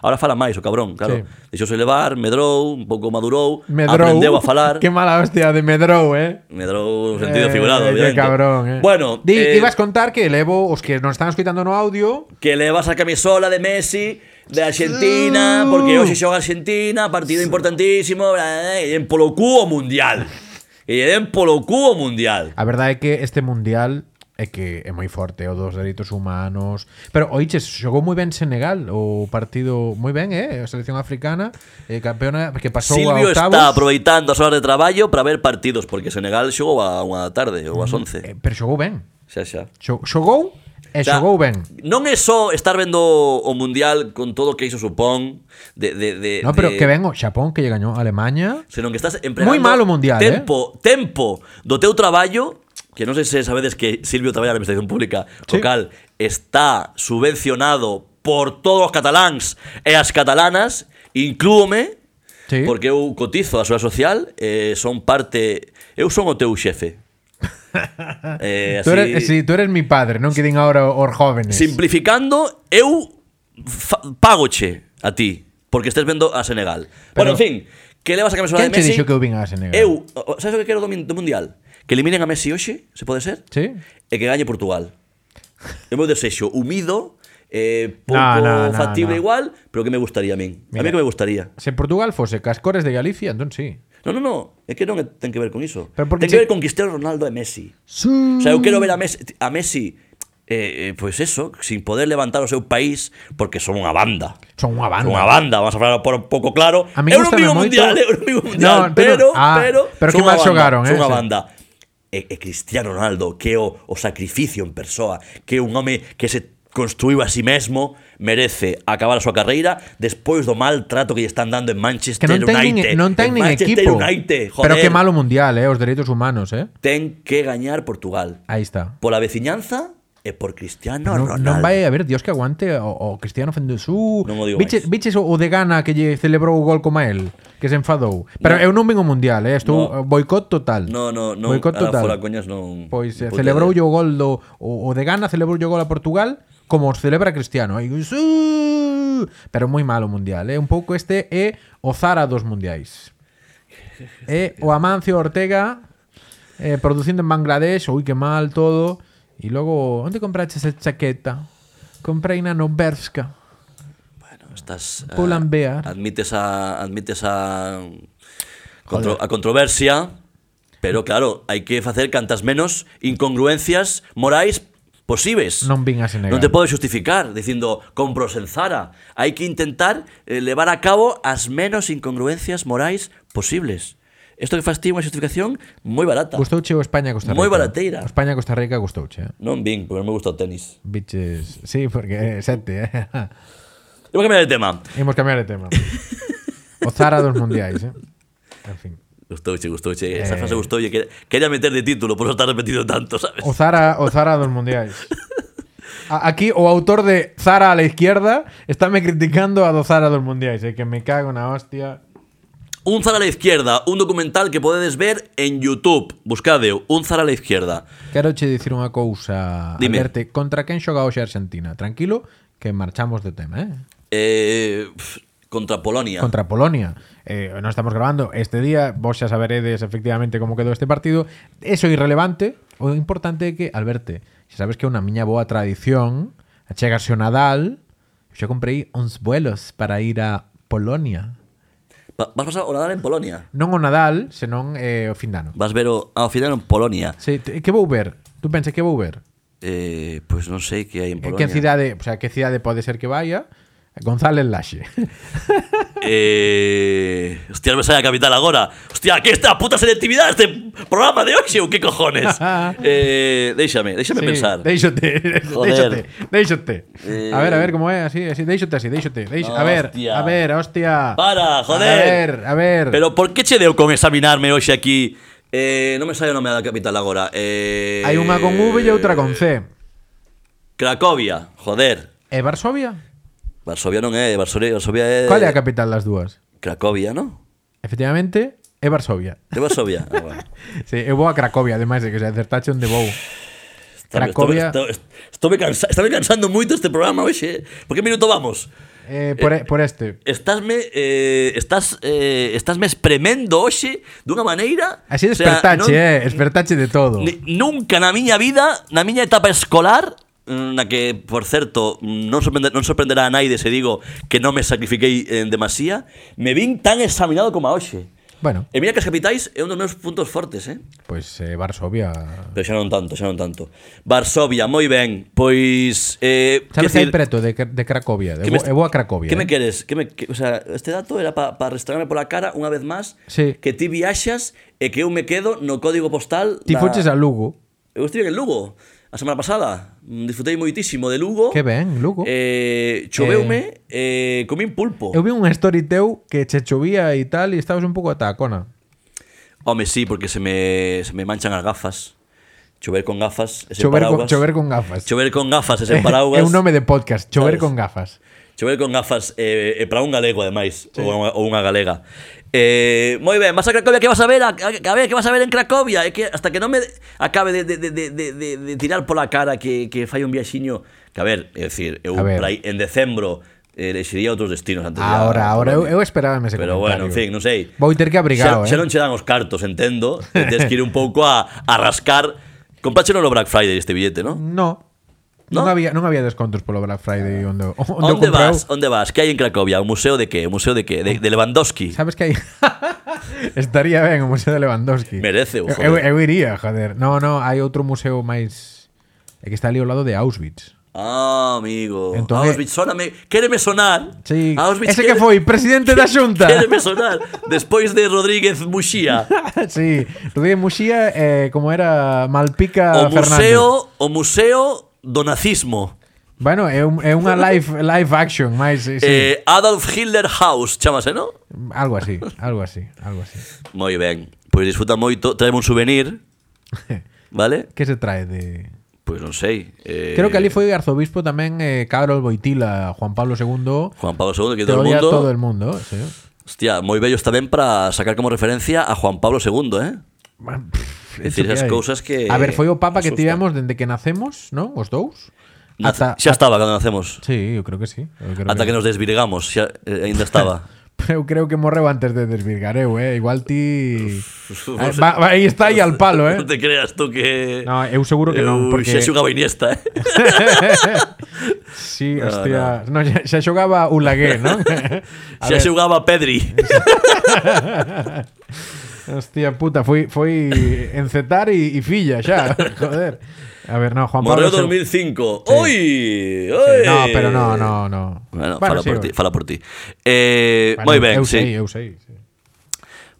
Ahora fala máis o cabrón,
Mm.
claro.
Sí.
Deixouse levar, medrou, un pouco madurou,
Medrou.
aprendeu a
(laughs)
falar.
Qué mala hostia de Medrou, eh.
Medrou no sentido
Eh,
figurado,
qué
obviamente.
cabrón, eh.
Bueno,
Di,
eh,
ibas a contar que elevo os que nos están escuchando no audio.
que levas a camisola de Messi de Argentina, porque hoxe xoga Argentina, partido importantísimo, bla, bla, bla, e en polo cubo mundial. E en polo cubo mundial.
A verdade é que este mundial é que é moi forte o dos dereitos humanos. Pero oiches, xogou moi ben Senegal, o partido moi ben, eh, a selección africana, eh, campeona que pasou
Silvio
a octavos.
está aproveitando as horas de traballo para ver partidos, porque Senegal xogou a unha da tarde ou ás 11.
eh, pero xogou ben.
Xa, xa.
Xo- Xogou e
Xa,
xogou ben.
Non é só estar vendo o Mundial con todo o que iso supón de, de, de,
No, pero
de-
que ben o Xapón que lle gañou a Alemanha.
senón que estás empregando
Moi malo mundial,
tempo, eh? tempo do teu traballo, que non sei se sabedes que Silvio traballa na Administración Pública
Sí.
local, está subvencionado por todos os cataláns e as catalanas, inclúome,
Sí.
porque eu cotizo a súa social, eh, son parte, eu son o teu
(laughs)
xefe. eh,
Tú eres, si tú eres mi padre, non que din ahora os jóvenes.
Simplificando, eu fa- pagoche a ti porque estés vendo a Senegal. bueno,
Pero-
en fin, que levas a camisola de
Quen che
Messi?
dixo que eu vin a Senegal?
Eu, o- o- sabes o que quero do, min- do Mundial? Que eliminen a Messi hoxe, se pode ser?
Sí.
E que gañe
(laughs)
Portugal. É o meu desexo, humido, eh, pouco
no, no,
factible
no.
igual, pero que me gustaría a min. A mí
Mira.
que me gustaría.
Se Portugal fose cascores de Galicia, entón sí.
No, no, no, é que non é- ten que ver con iso.
Pero porque
Ten que
se-
ver con Cristiano Ronaldo e Messi.
Sí.
O sea, eu quero ver a Messi, a Messi eh, eh, pois eso, sin poder levantar o seu país porque son unha banda.
Son unha banda.
Son unha banda, vamos a falar por un pouco claro.
A mí
eu non
gústame
vivo
moito-
mundial, eu non vivo mundial,
No,
pero,
pero- ah,
pero,
pero
son
que
unha
mal
banda,
xogaron, eh,
Son unha
sí.
banda. E, e Cristiano Ronaldo, que é o, o sacrificio en persoa, que é un home que se construiu a sí mesmo, merece acabar a súa carreira despois do mal trato que lle están dando en Manchester
Que non ten nin,
United.
non ten
En
nin
Manchester
equipo.
United, joder.
Pero que malo mundial, eh, os dereitos humanos, eh.
Ten que gañar Portugal.
Aí está.
Pola veciñanza e por Cristiano
Non,
Ronaldo.
non vai haber Dios que aguante o, o Cristiano Fendesú.
Non o digo
Biches,
máis.
biches o, o de Gana que lle celebrou o gol como el, que se enfadou. Pero
No.
eu non vin o mundial, eh, estou
No.
boicot total.
No, no, no.
Boicot
ahora
total.
fora coñas non.
Pois eh,
non puedo
celebrou
creer.
o gol do o, o de Gana celebrou o gol a Portugal como os celebra Cristiano. Aí, "Sú!" pero moi malo o mundial, é un pouco este é o Zara dos mundiais. É o Amancio Ortega eh, producindo en Bangladesh, ui que mal todo. E logo, onde compraches esa chaqueta? Comprei na Noberska.
Estás ah,
Pull and bear.
Admites a admites a contro- a controversia, pero claro, hai que facer cantas menos incongruencias morais posíveis.
Non vin a Senegal.
Non te podes justificar dicindo compros en Zara. Hai que intentar eh, levar a cabo as menos incongruencias morais posibles. Isto que faz ti unha justificación moi barata.
Gustouche o España Costa Rica.
Moi barateira.
O España Costa Rica gustouche. eh.
Non vin, porque non me gusta o tenis.
Biches, sí, porque é sete, eh. (laughs)
Imos cambiar de tema.
Imos cambiar de tema. pues. O Zara dos mundiais, eh? En fin.
Gustouche, gustouche. Esa frase gustoulle. que- Quería meter de título, por eso está repetido tanto,
Eh.
¿sabes?
O Zara, o Zara dos mundiais. A- Aquí o autor de Zara a la izquierda está me criticando a do Zara dos mundiais, eh? que me cago na hostia.
Un Zara a la izquierda, un documental que podedes ver en YouTube. Buscadeo, un Zara a la izquierda.
Quero che dicir unha cousa,
Dime.
Alberto, contra quen xoga hoxe Argentina? Tranquilo, que marchamos de tema, eh?
Eh, pf, contra Polonia.
Contra Polonia. Eh, non estamos grabando este día, vos xa saberedes efectivamente como quedou este partido. Eso é irrelevante, o importante é que, Alberto, xa sabes que é unha miña boa tradición, chegarse o Nadal, xa comprei uns vuelos para ir a Polonia.
Va- vas pasar o Nadal en Polonia.
Non o Nadal, senón eh, o fin de ano.
Vas ver o, ao final en Polonia.
Se, te- que vou ver? Tú pensas que vou ver?
Eh, pues non sei que hai
Eh,
en Polonia.
Que cidade, o sea, que cidade pode ser que vaya? González Laxe. (laughs)
Eh, hostia, non me sale a capital agora. Hostia, que esta puta selectividade este programa de hoxe ou que
(laughs)
cojones? eh, déixame, (laughs) déixame pensar.
Déixote, déixote,
Joder.
déixote.
Eh.
A ver, a ver como é, así, así, déixote así, déixote, déix- a ver,
Hostia.
a ver, hostia.
Para, joder.
A ver, a ver.
Pero por que che deu con examinarme hoxe aquí? Eh, non me sale o nome da capital agora. Eh,
hai unha con V e outra con C.
Cracovia, joder.
E Varsovia?
Varsovia non é, Varsovia, Varsovia é...
Qual é a capital das dúas?
Cracovia, non?
Efectivamente, é Varsovia.
De Varsovia. ah, bueno.
Sí, eu vou a Cracovia, ademais de que se acertache onde vou. (laughs)
Está-
Cracovia-
Estoy, estoy, estoy, cansa, estáme cansando moito este programa hoxe. Por que eh. minuto vamos?
eh, por, e- por este.
Estásme, eh, estás, eh, estásme espremendo hoxe dunha maneira...
Así
o sea,
despertache,
non-
eh, despertache de todo.
Ni- nunca na miña vida, na miña etapa escolar, mm, na que, por certo, non, sorprende, non sorprenderá a naide se digo que non me sacrifiquei en demasía, me vin tan examinado como a hoxe.
Bueno,
E mira que as capitais é un dos meus puntos fortes, eh?
pues eh, Varsovia.
Pero xa non tanto, xa non tanto. Varsovia, moi ben. Pois... Eh,
Sabes que hai
quer dicir,
preto de, Cra- de Cracovia, de,
que
Bo-
me-
de boa Cracovia.
Que me
eh.
queres? Que me, que, o sea, este dato era para pa restregarme pola cara unha vez máis
Sí.
que ti viaxas e que eu me quedo no código postal
Ti
da-
fuches a Lugo.
Eu estive en Lugo a semana pasada. Mm, Disfrutei moitísimo de Lugo.
Que ben, Lugo.
Eh, choveume, eh, comín pulpo.
Eu vi unha story teu que che chovía e tal e estabas un pouco atacona.
Home, sí, porque se me, se me manchan as gafas. Chover con gafas, ese
Chover con,
paraguas.
chover con gafas.
Chover con gafas, ese
(laughs) É
paraguas.
un nome de podcast, chover
Sabes?
con gafas.
Chover con gafas eh, eh, para un galego, ademais, ou, unha, ou unha galega. Eh, moi ben, vas a Cracovia, que vas a ver? A, a, a ver, que vas a ver en Cracovia? É que hasta que non me acabe de, de, de, de, de, de, de tirar pola cara que, que fai un viaxiño... Que a ver, é dicir, eu
A ver.
por aí, en decembro eh, elexiría outros destinos antes de ir a
Ahora, ahora eu,
Colombia.
eu esperábame ese
Pero bueno,
comentario.
en fin, non sei.
Vou ter que abrigado,
xa, xa
eh.
non che dan os cartos, entendo. e Tes que ir un pouco a, a rascar. Comprache no Black Friday este billete, non?
No.
¿No? Ah.
Non había non había descontos polo Black Friday onde onde, eu
Onde
comprei eu.
vas? Onde vas? Que hai en Cracovia? Un museo de que? Un museo de que? De, de Lewandowski.
Sabes que aí (laughs) estaría ben o museo de Lewandowski.
Merece,
eu,
joder.
eu, eu iría, joder. No, no, hai outro museo máis é que está ali ao lado de Auschwitz.
Ah, amigo.
Entón,
Auschwitz, sóname. Quéreme sonar.
Sí,
Auschwitz,
ese que
(laughs) quere-
foi presidente da Xunta.
Quéreme sonar. Despois de Rodríguez
(laughs)
Muxía.
sí, Rodríguez Muxía eh, como era Malpica Ah,
O
Fernández.
museo, o museo do nazismo.
Bueno, é, un, é unha live, live action máis, sí, sí.
Eh, Adolf Hitler House, chamase, non?
algo así, algo así, algo
(laughs)
así.
Moi ben. Pois Pues disfruta moito, traeme un souvenir, vale?
que se trae de
Pois non sei. Eh,
Creo que ali foi arzobispo tamén eh, Carol Boitila, Juan Pablo II.
Juan Pablo II, que
Te
todo o
odia
mundo...
todo el mundo, sí.
Hostia, moi bellos tamén para sacar como referencia a Juan Pablo II, eh?
Man, pff,
Decir,
eso
esas
hai.
cousas que
A ver, foi o papa que
asustan.
tivemos dende que nacemos, ¿no? Os dous.
Nace-
Ata-
xa estaba cando nacemos.
Sí, eu creo que sí. Eu creo
Ata que nos desvirgamos, xa, eh, ainda estaba.
(laughs) Eu creo que morreu antes de desvirgar eu, eh? Igual ti...
non
Ah,
sei.
va- va- Aí está aí al palo,
(laughs)
eh?
Non te creas tú que...
No, eu seguro que non,
Eu
porque-
Xa xugaba Iniesta, eh?
Sí, hostia. No, xa, xa xogaba Ulagué,
(laughs)
non? (laughs) A ver,
xa xugaba Pedri.
Hostia puta, foi, foi encetar e, e filla
(laughs)
xa, joder. A ver, no, Juan
Morreu
Pablo... II.
2005. Oi! Oi!
No, pero no, no, no.
Bueno, fala,
sí,
por ti,
bueno.
fala por ti. Eh,
Bueno,
moi ben,
eu
sí. Pues
sei, eu sei. sí.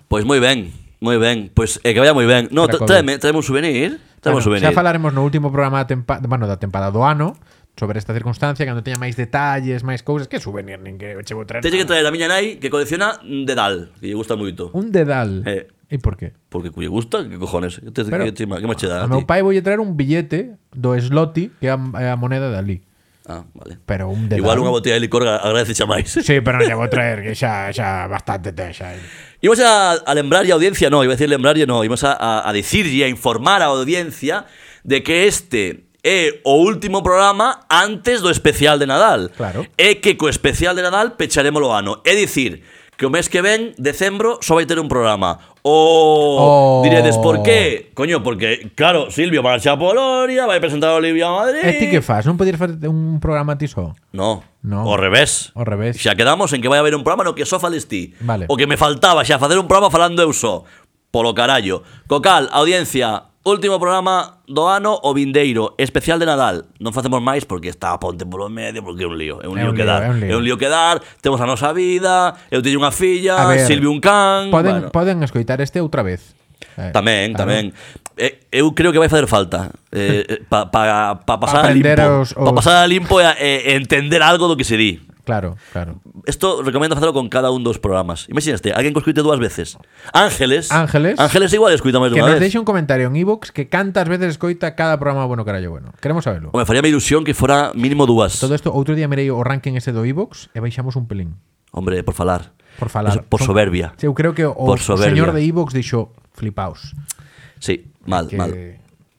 Pois moi ben, moi ben. Pois eh, que vaya moi ben. No, tra-
Cracovia.
tráeme, tráeme un souvenir. Tráeme
Bueno,
un souvenir.
xa falaremos no último programa da, tempa bueno, da temporada do ano sobre esta circunstancia, cando teña máis detalles, máis cousas, que souvenir nin que che vou traer.
Teño que
nada.
traer a miña nai que colecciona un dedal, que lle gusta moito.
Un dedal.
Eh.
E por qué?
Porque culle gusta, que cojones? Que, te,
Pero-
que, te, que máis che dá a
A
ti?
meu pai voulle traer un billete do Sloti, que é a, é a moneda de ali.
Ah, vale.
Pero un dedal.
Igual unha botella de licor agradece xa máis. (laughs)
Sí, pero non lle vou traer, que xa, xa bastante ten, xa.
Imos a, a lembrarlle a audiencia, no, iba a decir lembrarlle, no, imos a, a, a dicirlle, a informar a audiencia de que este é o último programa antes do especial de Nadal.
Claro.
E que co especial de Nadal pecharemos o ano. É dicir, que o mes que ven, decembro, só vai ter un programa. O
Oh.
diredes por qué? Coño, porque, claro, Silvio marcha a Polonia, vai presentar a Olivia a Madrid...
E ti que fas? Non podías facer un programa ti só?
No,
No.
ao revés.
Ao revés.
Xa quedamos en que vai haber un programa no que só fales ti.
Vale.
O que me faltaba xa facer un programa falando eu só. Polo carallo. Cocal, audiencia, último programa do ano o vindeiro, especial de Nadal. Non facemos máis porque está a ponte polo medio, porque é un lío, é un lío que dar.
é un lío.
É un lío que dar, temos a nosa vida, eu teño unha filla,
A ver,
Silvio un can,
Poden,
bueno.
poden escoitar este outra vez. Eh,
Tamén,
claro.
tamén. Eh, eu creo que vai facer falta eh,
(laughs)
eh, pa, pa, pa pasar a
aprender
limpo.
os-
Pa
os-
pasar a limpo e, a- e entender algo do que se di.
Claro, claro.
Esto recomendo facelo con cada un dos programas. Imagínate, alguén que escuite dúas veces. Ángeles.
Ángeles.
Ángeles igual escuita máis
Que
dunha
nos
vez.
deixe un comentario en iVoox que cantas veces escoita cada programa bueno carallo bueno. Queremos saberlo.
Home, faría ilusión que fora mínimo dúas.
Todo isto outro día mirei o ranking ese do iVoox e baixamos un pelín
Hombre, por falar.
por falar.
Por
Son-
soberbia.
Sí, eu creo que o,
Por
o señor
soberbia.
de iVoox dixo flipaos.
Sí, mal,
que
mal.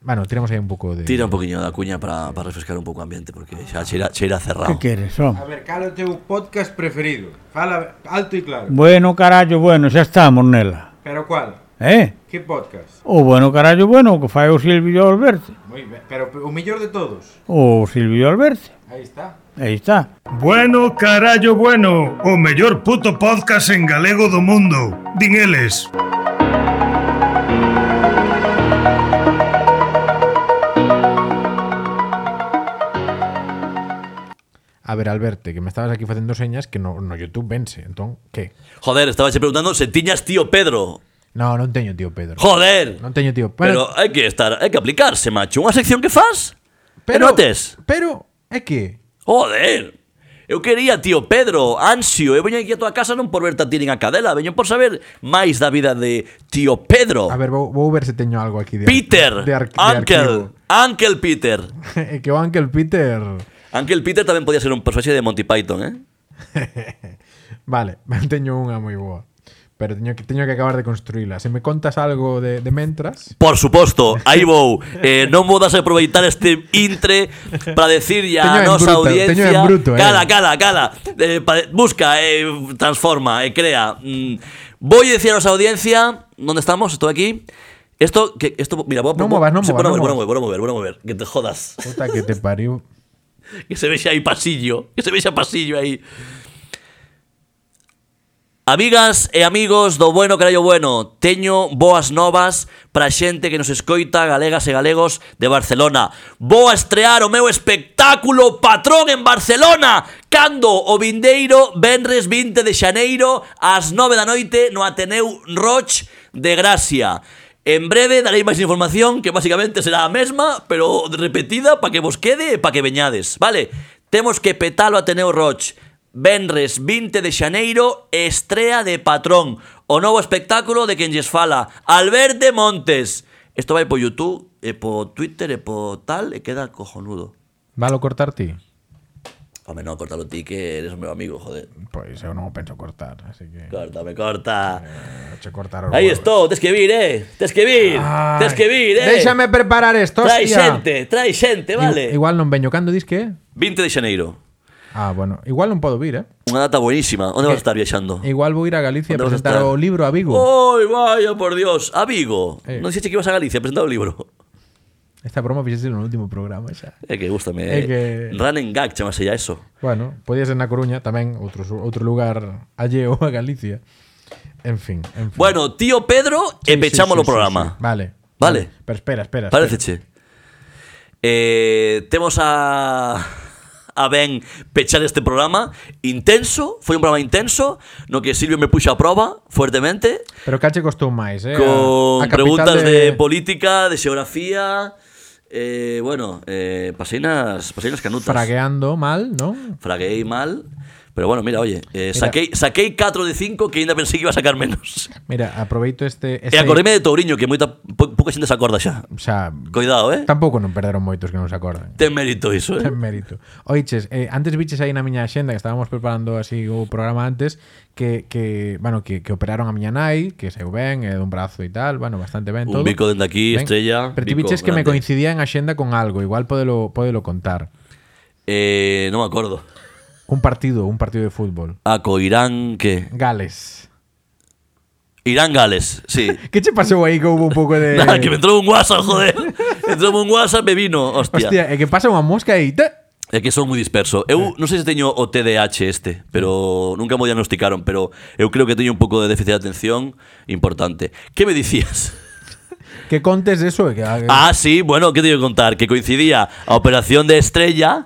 Bueno, tiramos aí un pouco de...
Tira un poquinho da cuña para, para refrescar un pouco o ambiente, porque xa cheira, cheira cerrado.
¿Qué quieres, home?
ver, cal é o teu podcast preferido? Fala alto e claro.
Bueno, carallo, bueno, xa estamos nela.
Pero cual?
Eh?
Que podcast?
O bueno, carallo, bueno, o que fai o Silvio Alberto.
Muy ben, pero o mellor de todos.
O Silvio Alberto.
Aí está.
Aí está.
Bueno, carallo, bueno, o mellor puto podcast en galego do mundo. Din eles.
A ver, Alberto, que me estabas aquí facendo señas que no, no YouTube vence, entón, que?
Joder, estaba preguntando se tiñas tío Pedro.
No, non teño tío Pedro.
Joder.
Non teño tío Pedro.
Pero hai que estar, hai que aplicarse, macho. Unha sección que faz? Pero notes.
Pero é que
Joder. Eu quería, tío Pedro, ansio, eu veño aquí a tua casa non por verte a ti nin a cadela, veño por saber máis da vida de tío Pedro.
A ver, vou, vou ver se teño algo aquí de ar-
Peter,
de ar- de
Uncle,
(laughs) arquivo.
Uncle Peter.
É que o Uncle Peter. (laughs)
Uncle Peter tamén podía ser un personaxe de Monty Python, eh?
Vale, (laughs) teño unha moi boa. Pero teño que teño que acabar de construíla. Se me contas algo de, de mentras,
Por suposto, aí vou. Eh, non vou das aproveitar este intre para decirlle
Teño
a
en
nosa
bruto, teño
audiencia...
en bruto, eh.
Cala, cala, cala. Eh, pa- busca, eh, transforma, eh, crea. Mm, voy a decir a nosa audiencia... ¿Dónde estamos? Estoy aquí. Esto, que, esto, mira, voy a
No
voy-
movas, no
sí,
movas,
voy a
no
mover,
movas.
voy a mover, voy a mover, que te jodas. (laughs)
puta que te pariu.
Que se vexe aí pasillo, que se vexe pasillo aí. Amigas e amigos do Bueno Carallo Bueno, teño boas novas para a xente que nos escoita galegas e galegos de Barcelona. Vou a estrear o meu espectáculo Patrón en Barcelona, cando o vindeiro venres 20 de xaneiro ás 9 da noite no Ateneu Roch de Gracia. En breve darei máis información que basicamente será a mesma, pero repetida para que vos quede e para que veñades, vale? Temos que petalo Ateneu Roch. Benres 20 de xaneiro, estrea de Patrón, o novo espectáculo de quen lles fala, Alberte Montes. Isto vai po YouTube, e po Twitter, e po tal, e queda cojonudo.
Valo cortar ti?
Home, non, cortalo ti que eres o meu amigo, joder.
Pois eu non o penso cortar, así que
Córtame, corta.
che cortar os
Aí
huevos.
estou, tes que vir, eh. Tes que vir,
Ai,
tes que vir, eh.
Déxame preparar esto,
Trai
hostia.
xente, trai xente, vale.
Igual non veño cando dis que é?
20 de xaneiro.
Ah, bueno, igual non podo vir, eh?
Unha data buenísima. Onde vas a estar viaxando?
Igual vou ir a Galicia a
Onde vas a
presentar
estar?
o libro a Vigo.
Oi, vaya, por Dios. A Vigo.
Eh.
Non dixeste que ibas a Galicia a presentar o libro. (laughs)
Esta broma fixese no último programa xa.
É que
É
gustame. É
Eh, que-
que... Run and gag, chamase ya eso.
Bueno, podía ser na Coruña tamén, outro, su- outro lugar alleo a Galicia. En fin, en fin.
Bueno, tío Pedro,
Sí,
e
sí,
pechamos
sí,
o
sí,
programa.
sí. Vale.
Vale.
Pero espera, espera. espera.
Pareceche. Eh, temos a (laughs) a ben pechar este programa intenso, foi un programa intenso no que Silvio me puxo a proba fuertemente
Pero cache costou máis, eh?
con
A- a capital
preguntas de... política, de xeografía, eh, bueno, eh, paseinas, paseinas canutas.
Fragueando mal, ¿no?
Fraguei mal, pero bueno, mira, oye, eh, saquei, saquei 4 de 5 que ainda pensei que iba a sacar menos.
Mira, aproveito este...
E
este
acordeme de Touriño, que moita po- pouca xente se acorda xa.
O sea,
Cuidado, eh?
tampouco non perderon moitos que non se acordan.
Ten mérito iso, eh?
Ten mérito. Oiches, eh, antes biches aí na miña axenda que estábamos preparando así o programa antes que, que bueno, que, que operaron a miña nai, que saiu ben, é dun brazo e tal, bueno, bastante ben
Un
todo.
bico dende aquí, estrella,
Pero ti
bico
biches que me
grande.
coincidía en axenda con algo, igual podelo, podelo contar.
Eh, non me acordo.
Un partido, un partido de fútbol.
A co Irán que
Gales.
Irán
(laughs)
Gales, sí. (laughs)
Que che pasou aí que houve un pouco de...
Nada, Ah, que me entrou un WhatsApp, joder. entrou un WhatsApp, me vino, hostia.
Hostia, é que pasa unha mosca e aí. Ta...
É que son moi disperso. Eu non sei se teño o TDAH este, pero nunca mo diagnosticaron, pero eu creo que teño un pouco de déficit de atención importante. Que me dicías?
Que contes eso, e que...
Ah, sí, bueno, ¿qué te iba a contar? Que coincidía a Operación de Estrella,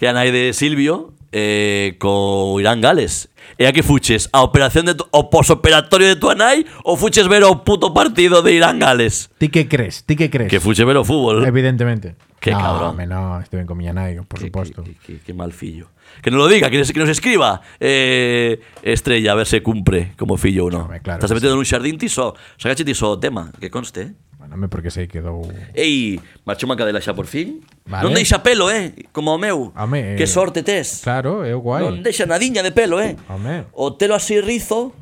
que era nai de Silvio, eh, con Irán Gales. E a que fuches? A operación de tu, o posoperatorio de tu anai ou fuches ver o puto partido de Irán Gales?
Ti que crees, ti que crees.
Que fuches ver o fútbol.
Evidentemente.
Qué
no,
cabrón.
home, No, estuve en miña nai, por suposto.
Que, que, que mal fillo. Que nos lo diga, que nos, que nos escriba eh, Estrella, a ver se cumpre como fillo ou non.
Home, claro
Estás
que
metido nun xardín ti só. Sacaxe ti só o tema, que conste, eh?
Bueno, me porque sei que dou...
Ei, marchou man cadela xa por fin.
Vale.
Non deixa pelo, eh? Como o meu.
Home, eh,
que sorte tes.
Claro, é o guai.
Non deixa nadiña de pelo, eh?
Home.
O telo así rizo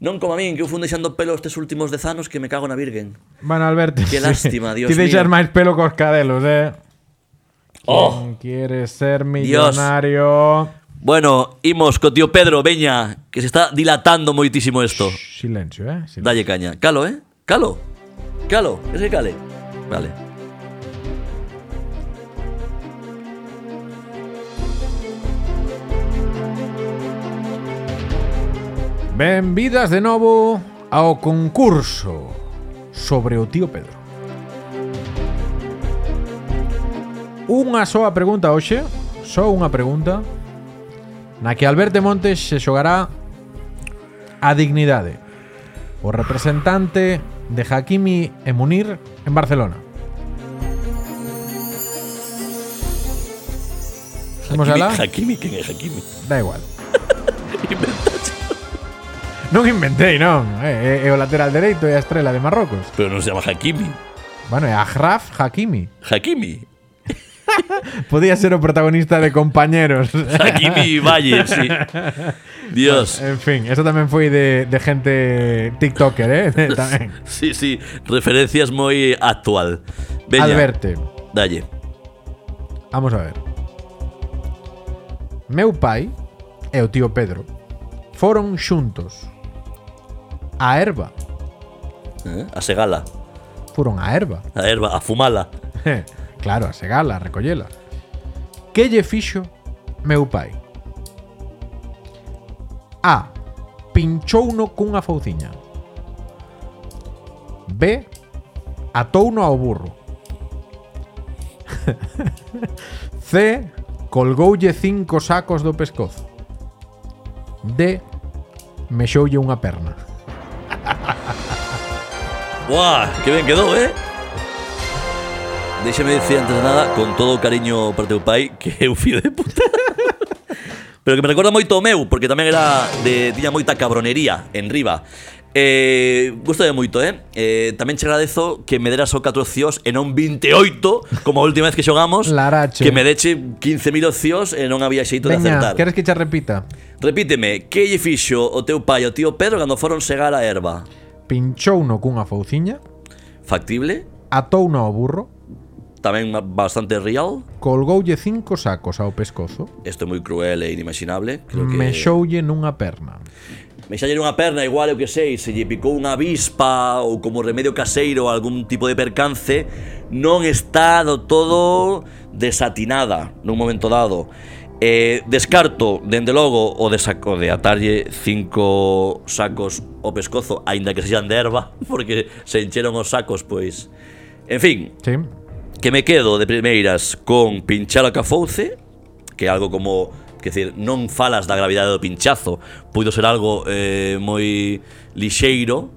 Non como a min, que eu fun deixando pelo estes últimos dez anos que me cago na virgen.
Bueno, Alberto.
Qué lástima, Dios
Ti deixas
mío.
máis pelo cos cadelos, eh.
Oh.
Quen Quieres ser millonario.
Bueno, imos co tío Pedro, veña, que se está dilatando moitísimo isto.
Silencio, eh. Silencio.
Dalle caña. Calo, eh? Calo. Calo, ese cale. Vale.
Benvidas de novo ao concurso sobre o tío Pedro. Unha soa pregunta hoxe, só unha pregunta, na que Alberto Montes se xogará a dignidade. O representante de Hakimi e Munir en Barcelona. Imos
Hakimi-
alá?
Hakimi, quen é Hakimi?
Da igual. non inventei, non. É, é, é o Eh, lateral dereito e a estrela de Marrocos.
(laughs) Pero non se chama Hakimi.
Bueno, é Ajraf Hakimi.
Hakimi.
Podía ser o protagonista de Compañeros. (laughs)
Hakimi Valle, sí. Dios.
en fin, eso tamén foi de, de gente tiktoker, eh? tamén.
Sí, sí, referencias moi actual. Veña,
Alberte,
dalle.
vamos a ver. Meu pai e o tío Pedro foron xuntos a erva.
Eh? A segala,
Foron a erva.
a erva, a fumala.
Eh, claro, a segala, a recollela. Que lle fixo meu pai? A. Pinchouno cunha fouciña. B. Atouno ao burro. (laughs) C. Colgoulle cinco sacos do pescozo. D. Mexoulle unha perna.
¡Buah! ¡Qué bien quedó, eh! Déxame dicir antes de nada, con todo o cariño para teu pai, que é un fío de puta. (laughs) Pero que me recorda moito ao meu, porque tamén era de tiña moita cabronería en riba. Eh, gusto de moito, eh? eh tamén che agradezo que me deras o 4 ocios e non 28, como a última vez que xogamos,
Larache.
que me deche 15.000 ocios e non había xeito de
Veña,
acertar.
queres que che repita?
Repíteme, que lle fixo o teu pai ao tío Pedro cando foron segar a erva?
Pinchouno cunha fouciña.
Factible?
Atouno ao burro.
Tamén ma- bastante real?
colgoulle cinco sacos ao pescozo,
Isto é moi cruel e inimaginable Creo que...
mexoulle nunha perna.
Mexalle unha perna igual, eu que sei Se lle picou unha avispa Ou como remedio caseiro Algún tipo de percance Non está do todo desatinada Nun momento dado eh, Descarto, dende logo O de, saco, de atarlle cinco sacos o pescozo Ainda que sexan de erva (laughs) Porque se encheron os sacos, pois En fin,
Sí.
Que me quedo de primeiras con pinchar a cafouce Que é algo como Que decir, non falas da gravidade do pinchazo Puido ser algo eh, moi lixeiro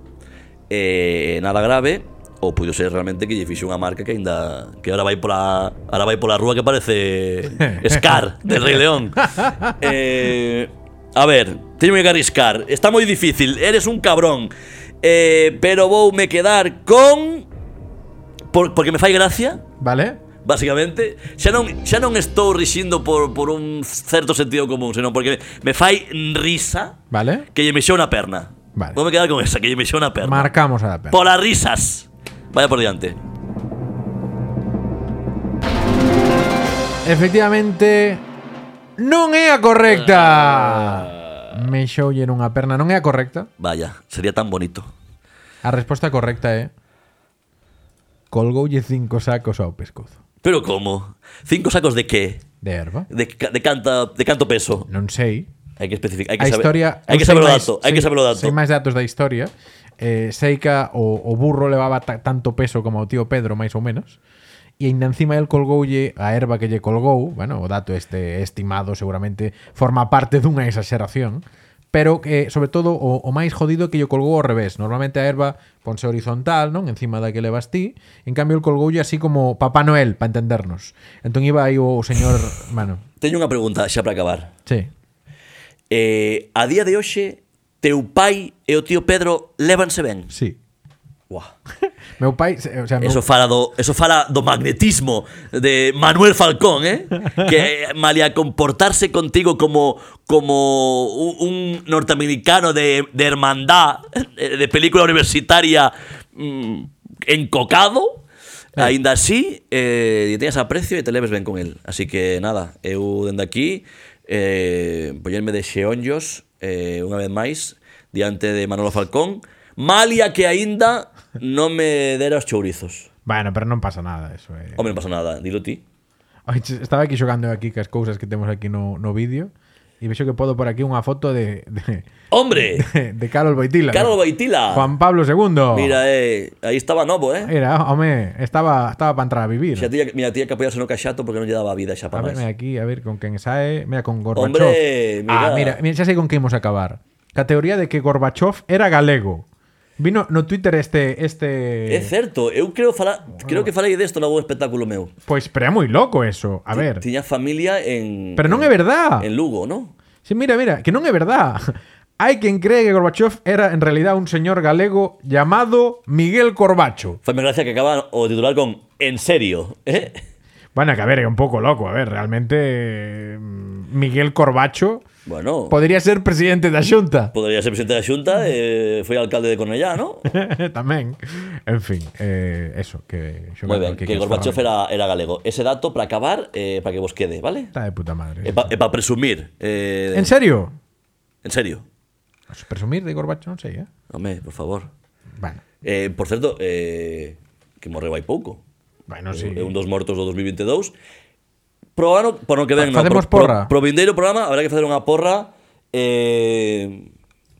eh, Nada grave Ou puido ser realmente que lle fixe unha marca que aínda Que ahora vai pola ahora vai pola rúa que parece Scar del Rei León eh, A ver, teño que arriscar Está moi difícil, eres un cabrón eh, Pero voume quedar con por, Porque me fai gracia
Vale?
Basicamente, xa non, xa non estou rixindo por, por un certo sentido común, senón porque me fai risa
Vale?
que lle mexeu na perna.
Vale.
Vou me quedar con esa, que lle mexeu na perna.
Marcamos a la perna.
Por as risas. Vaya por diante.
Efectivamente, non é a
Ah.
correcta. Mexoulle nunha perna non é a correcta.
Vaya, sería tan bonito.
A resposta correcta é colgoulle cinco sacos ao pescozo.
Pero como? Cinco sacos de qué?
De erva.
De, ca- de, canta, de canto peso.
Non sei.
Hai que especificar,
a
hai que saber.
historia
hai
eu
que
sei
saber o
máis-
dato, hai
sei-
que saber o dato.
Sei máis datos da historia. Eh, sei que o, o burro levaba ta- tanto peso como o tío Pedro, máis ou menos. E ainda encima el colgoulle a erva que lle colgou, bueno, o dato este estimado seguramente forma parte dunha exageración, pero que sobre todo o, o máis jodido é que lle colgou ao revés. Normalmente a erva ponse horizontal, non, encima da que levas ti, en cambio el colgoulle así como Papá Noel, para entendernos. Entón iba aí o señor,
(laughs)
bueno,
Teño unha pregunta xa para acabar.
sí.
Eh, a día de hoxe, teu pai e o tío Pedro lévanse ben.
Sí.
Buah.
Meu pai, se- o sea, meu,
Eso fala do, eso fala do magnetismo de Manuel Falcón, eh? Que eh, malia comportarse contigo como como un, un norteamericano de, de hermandad, eh, de película universitaria mm, encocado, aínda así, eh, teñas aprecio e te leves ben con él. Así que nada, eu dende aquí eh, poñerme de xeonllos eh, unha vez máis diante de Manolo Falcón, malia que aínda non me dera os chourizos.
Bueno, pero non pasa nada eso, eh.
Hombre, non pasa nada, dilo ti.
Ai, che- Estaba aquí xogando aquí cas cousas que temos aquí no, no vídeo e vexo que podo por aquí unha foto de de, (laughs)
¡Hombre!
de Carol Boitila.
Carlos Baitila.
Juan Pablo II.
Mira, eh, aí estaba novo, eh?
Era, home, estaba estaba para entrar a vivir.
Xa tía, mira, tía que apoiarse no caxato porque non lle daba vida
A
xa para
ver, mira
máis.
aquí, a ver con quen sae. Mira, con Gorbachev.
Hombre, mira.
Ah, mira, mira, xa sei con que imos acabar. Categoría de que Gorbachev era galego. Vino no Twitter este... este...
É certo, eu creo fala, creo que falei desto no bo espectáculo meu.
Pois, pero é moi loco eso. A ver.
Tiña familia en
Pero non é
en-
verdad.
En Lugo, ¿no?
Sí, mira, mira, que non é verdad. Hai quen cree que Gorbachev era en realidad un señor galego llamado Miguel Corbacho.
Faime gracia que acaba o titular con en serio, eh?
Bueno, que a ver, é un pouco loco. A ver, realmente eh, Miguel Corbacho
Bueno,
podría ser presidente da Xunta. (laughs)
podría ser presidente da Xunta, eh, foi alcalde de Cornellá, ¿no?
Tamén. En fin, eh, eso, que xo
Moi
creo
ben, que Gorbachev era, era galego. Ese dato para acabar, eh, para que vos quede, ¿vale?
Está de puta madre.
É para pa presumir. Eh,
En serio?
en serio.
Os Presumir de Gorbacho non sei, eh?
Home, por favor.
Bueno,
Eh, por certo, eh, que morreu hai pouco.
bueno,
Sí.
Ah, sí.
É un dos mortos do 2022. Pro ano, por no que ven, no,
Facemos
pro,
porra.
Pro, pro vindeiro programa habrá que facer unha porra eh,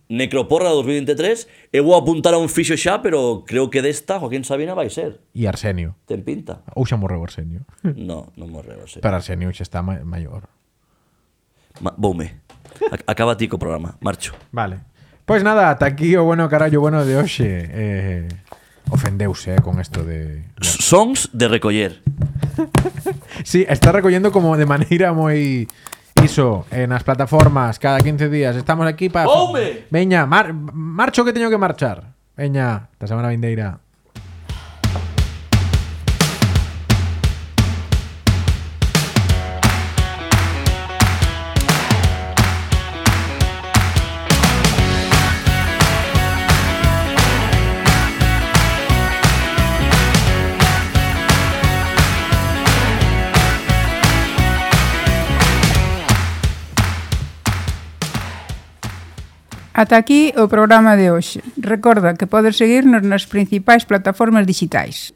necroporra do 2023. Eu vou apuntar a un fixo xa, pero creo que desta Joaquín Sabina vai ser.
E Arsenio.
Ten pinta.
Ou xa morreu Arsenio.
No, non morreu, sí.
Pero Arsenio xa está ma- maior.
Ma, voume. Ac- Acaba ti co programa. Marcho.
Vale. Pois nada, ata aquí o bueno carallo bueno de hoxe. Eh, ofendeuse eh, con esto de...
S- Sons de recoller.
Sí, está recollendo como de maneira moi... Iso, eh, nas plataformas, cada 15 días. Estamos aquí para...
Home!
Veña, mar, marcho que teño que marchar. Veña, esta semana vindeira.
Ata aquí o programa de hoxe. Recorda que podes seguirnos nas principais plataformas digitais.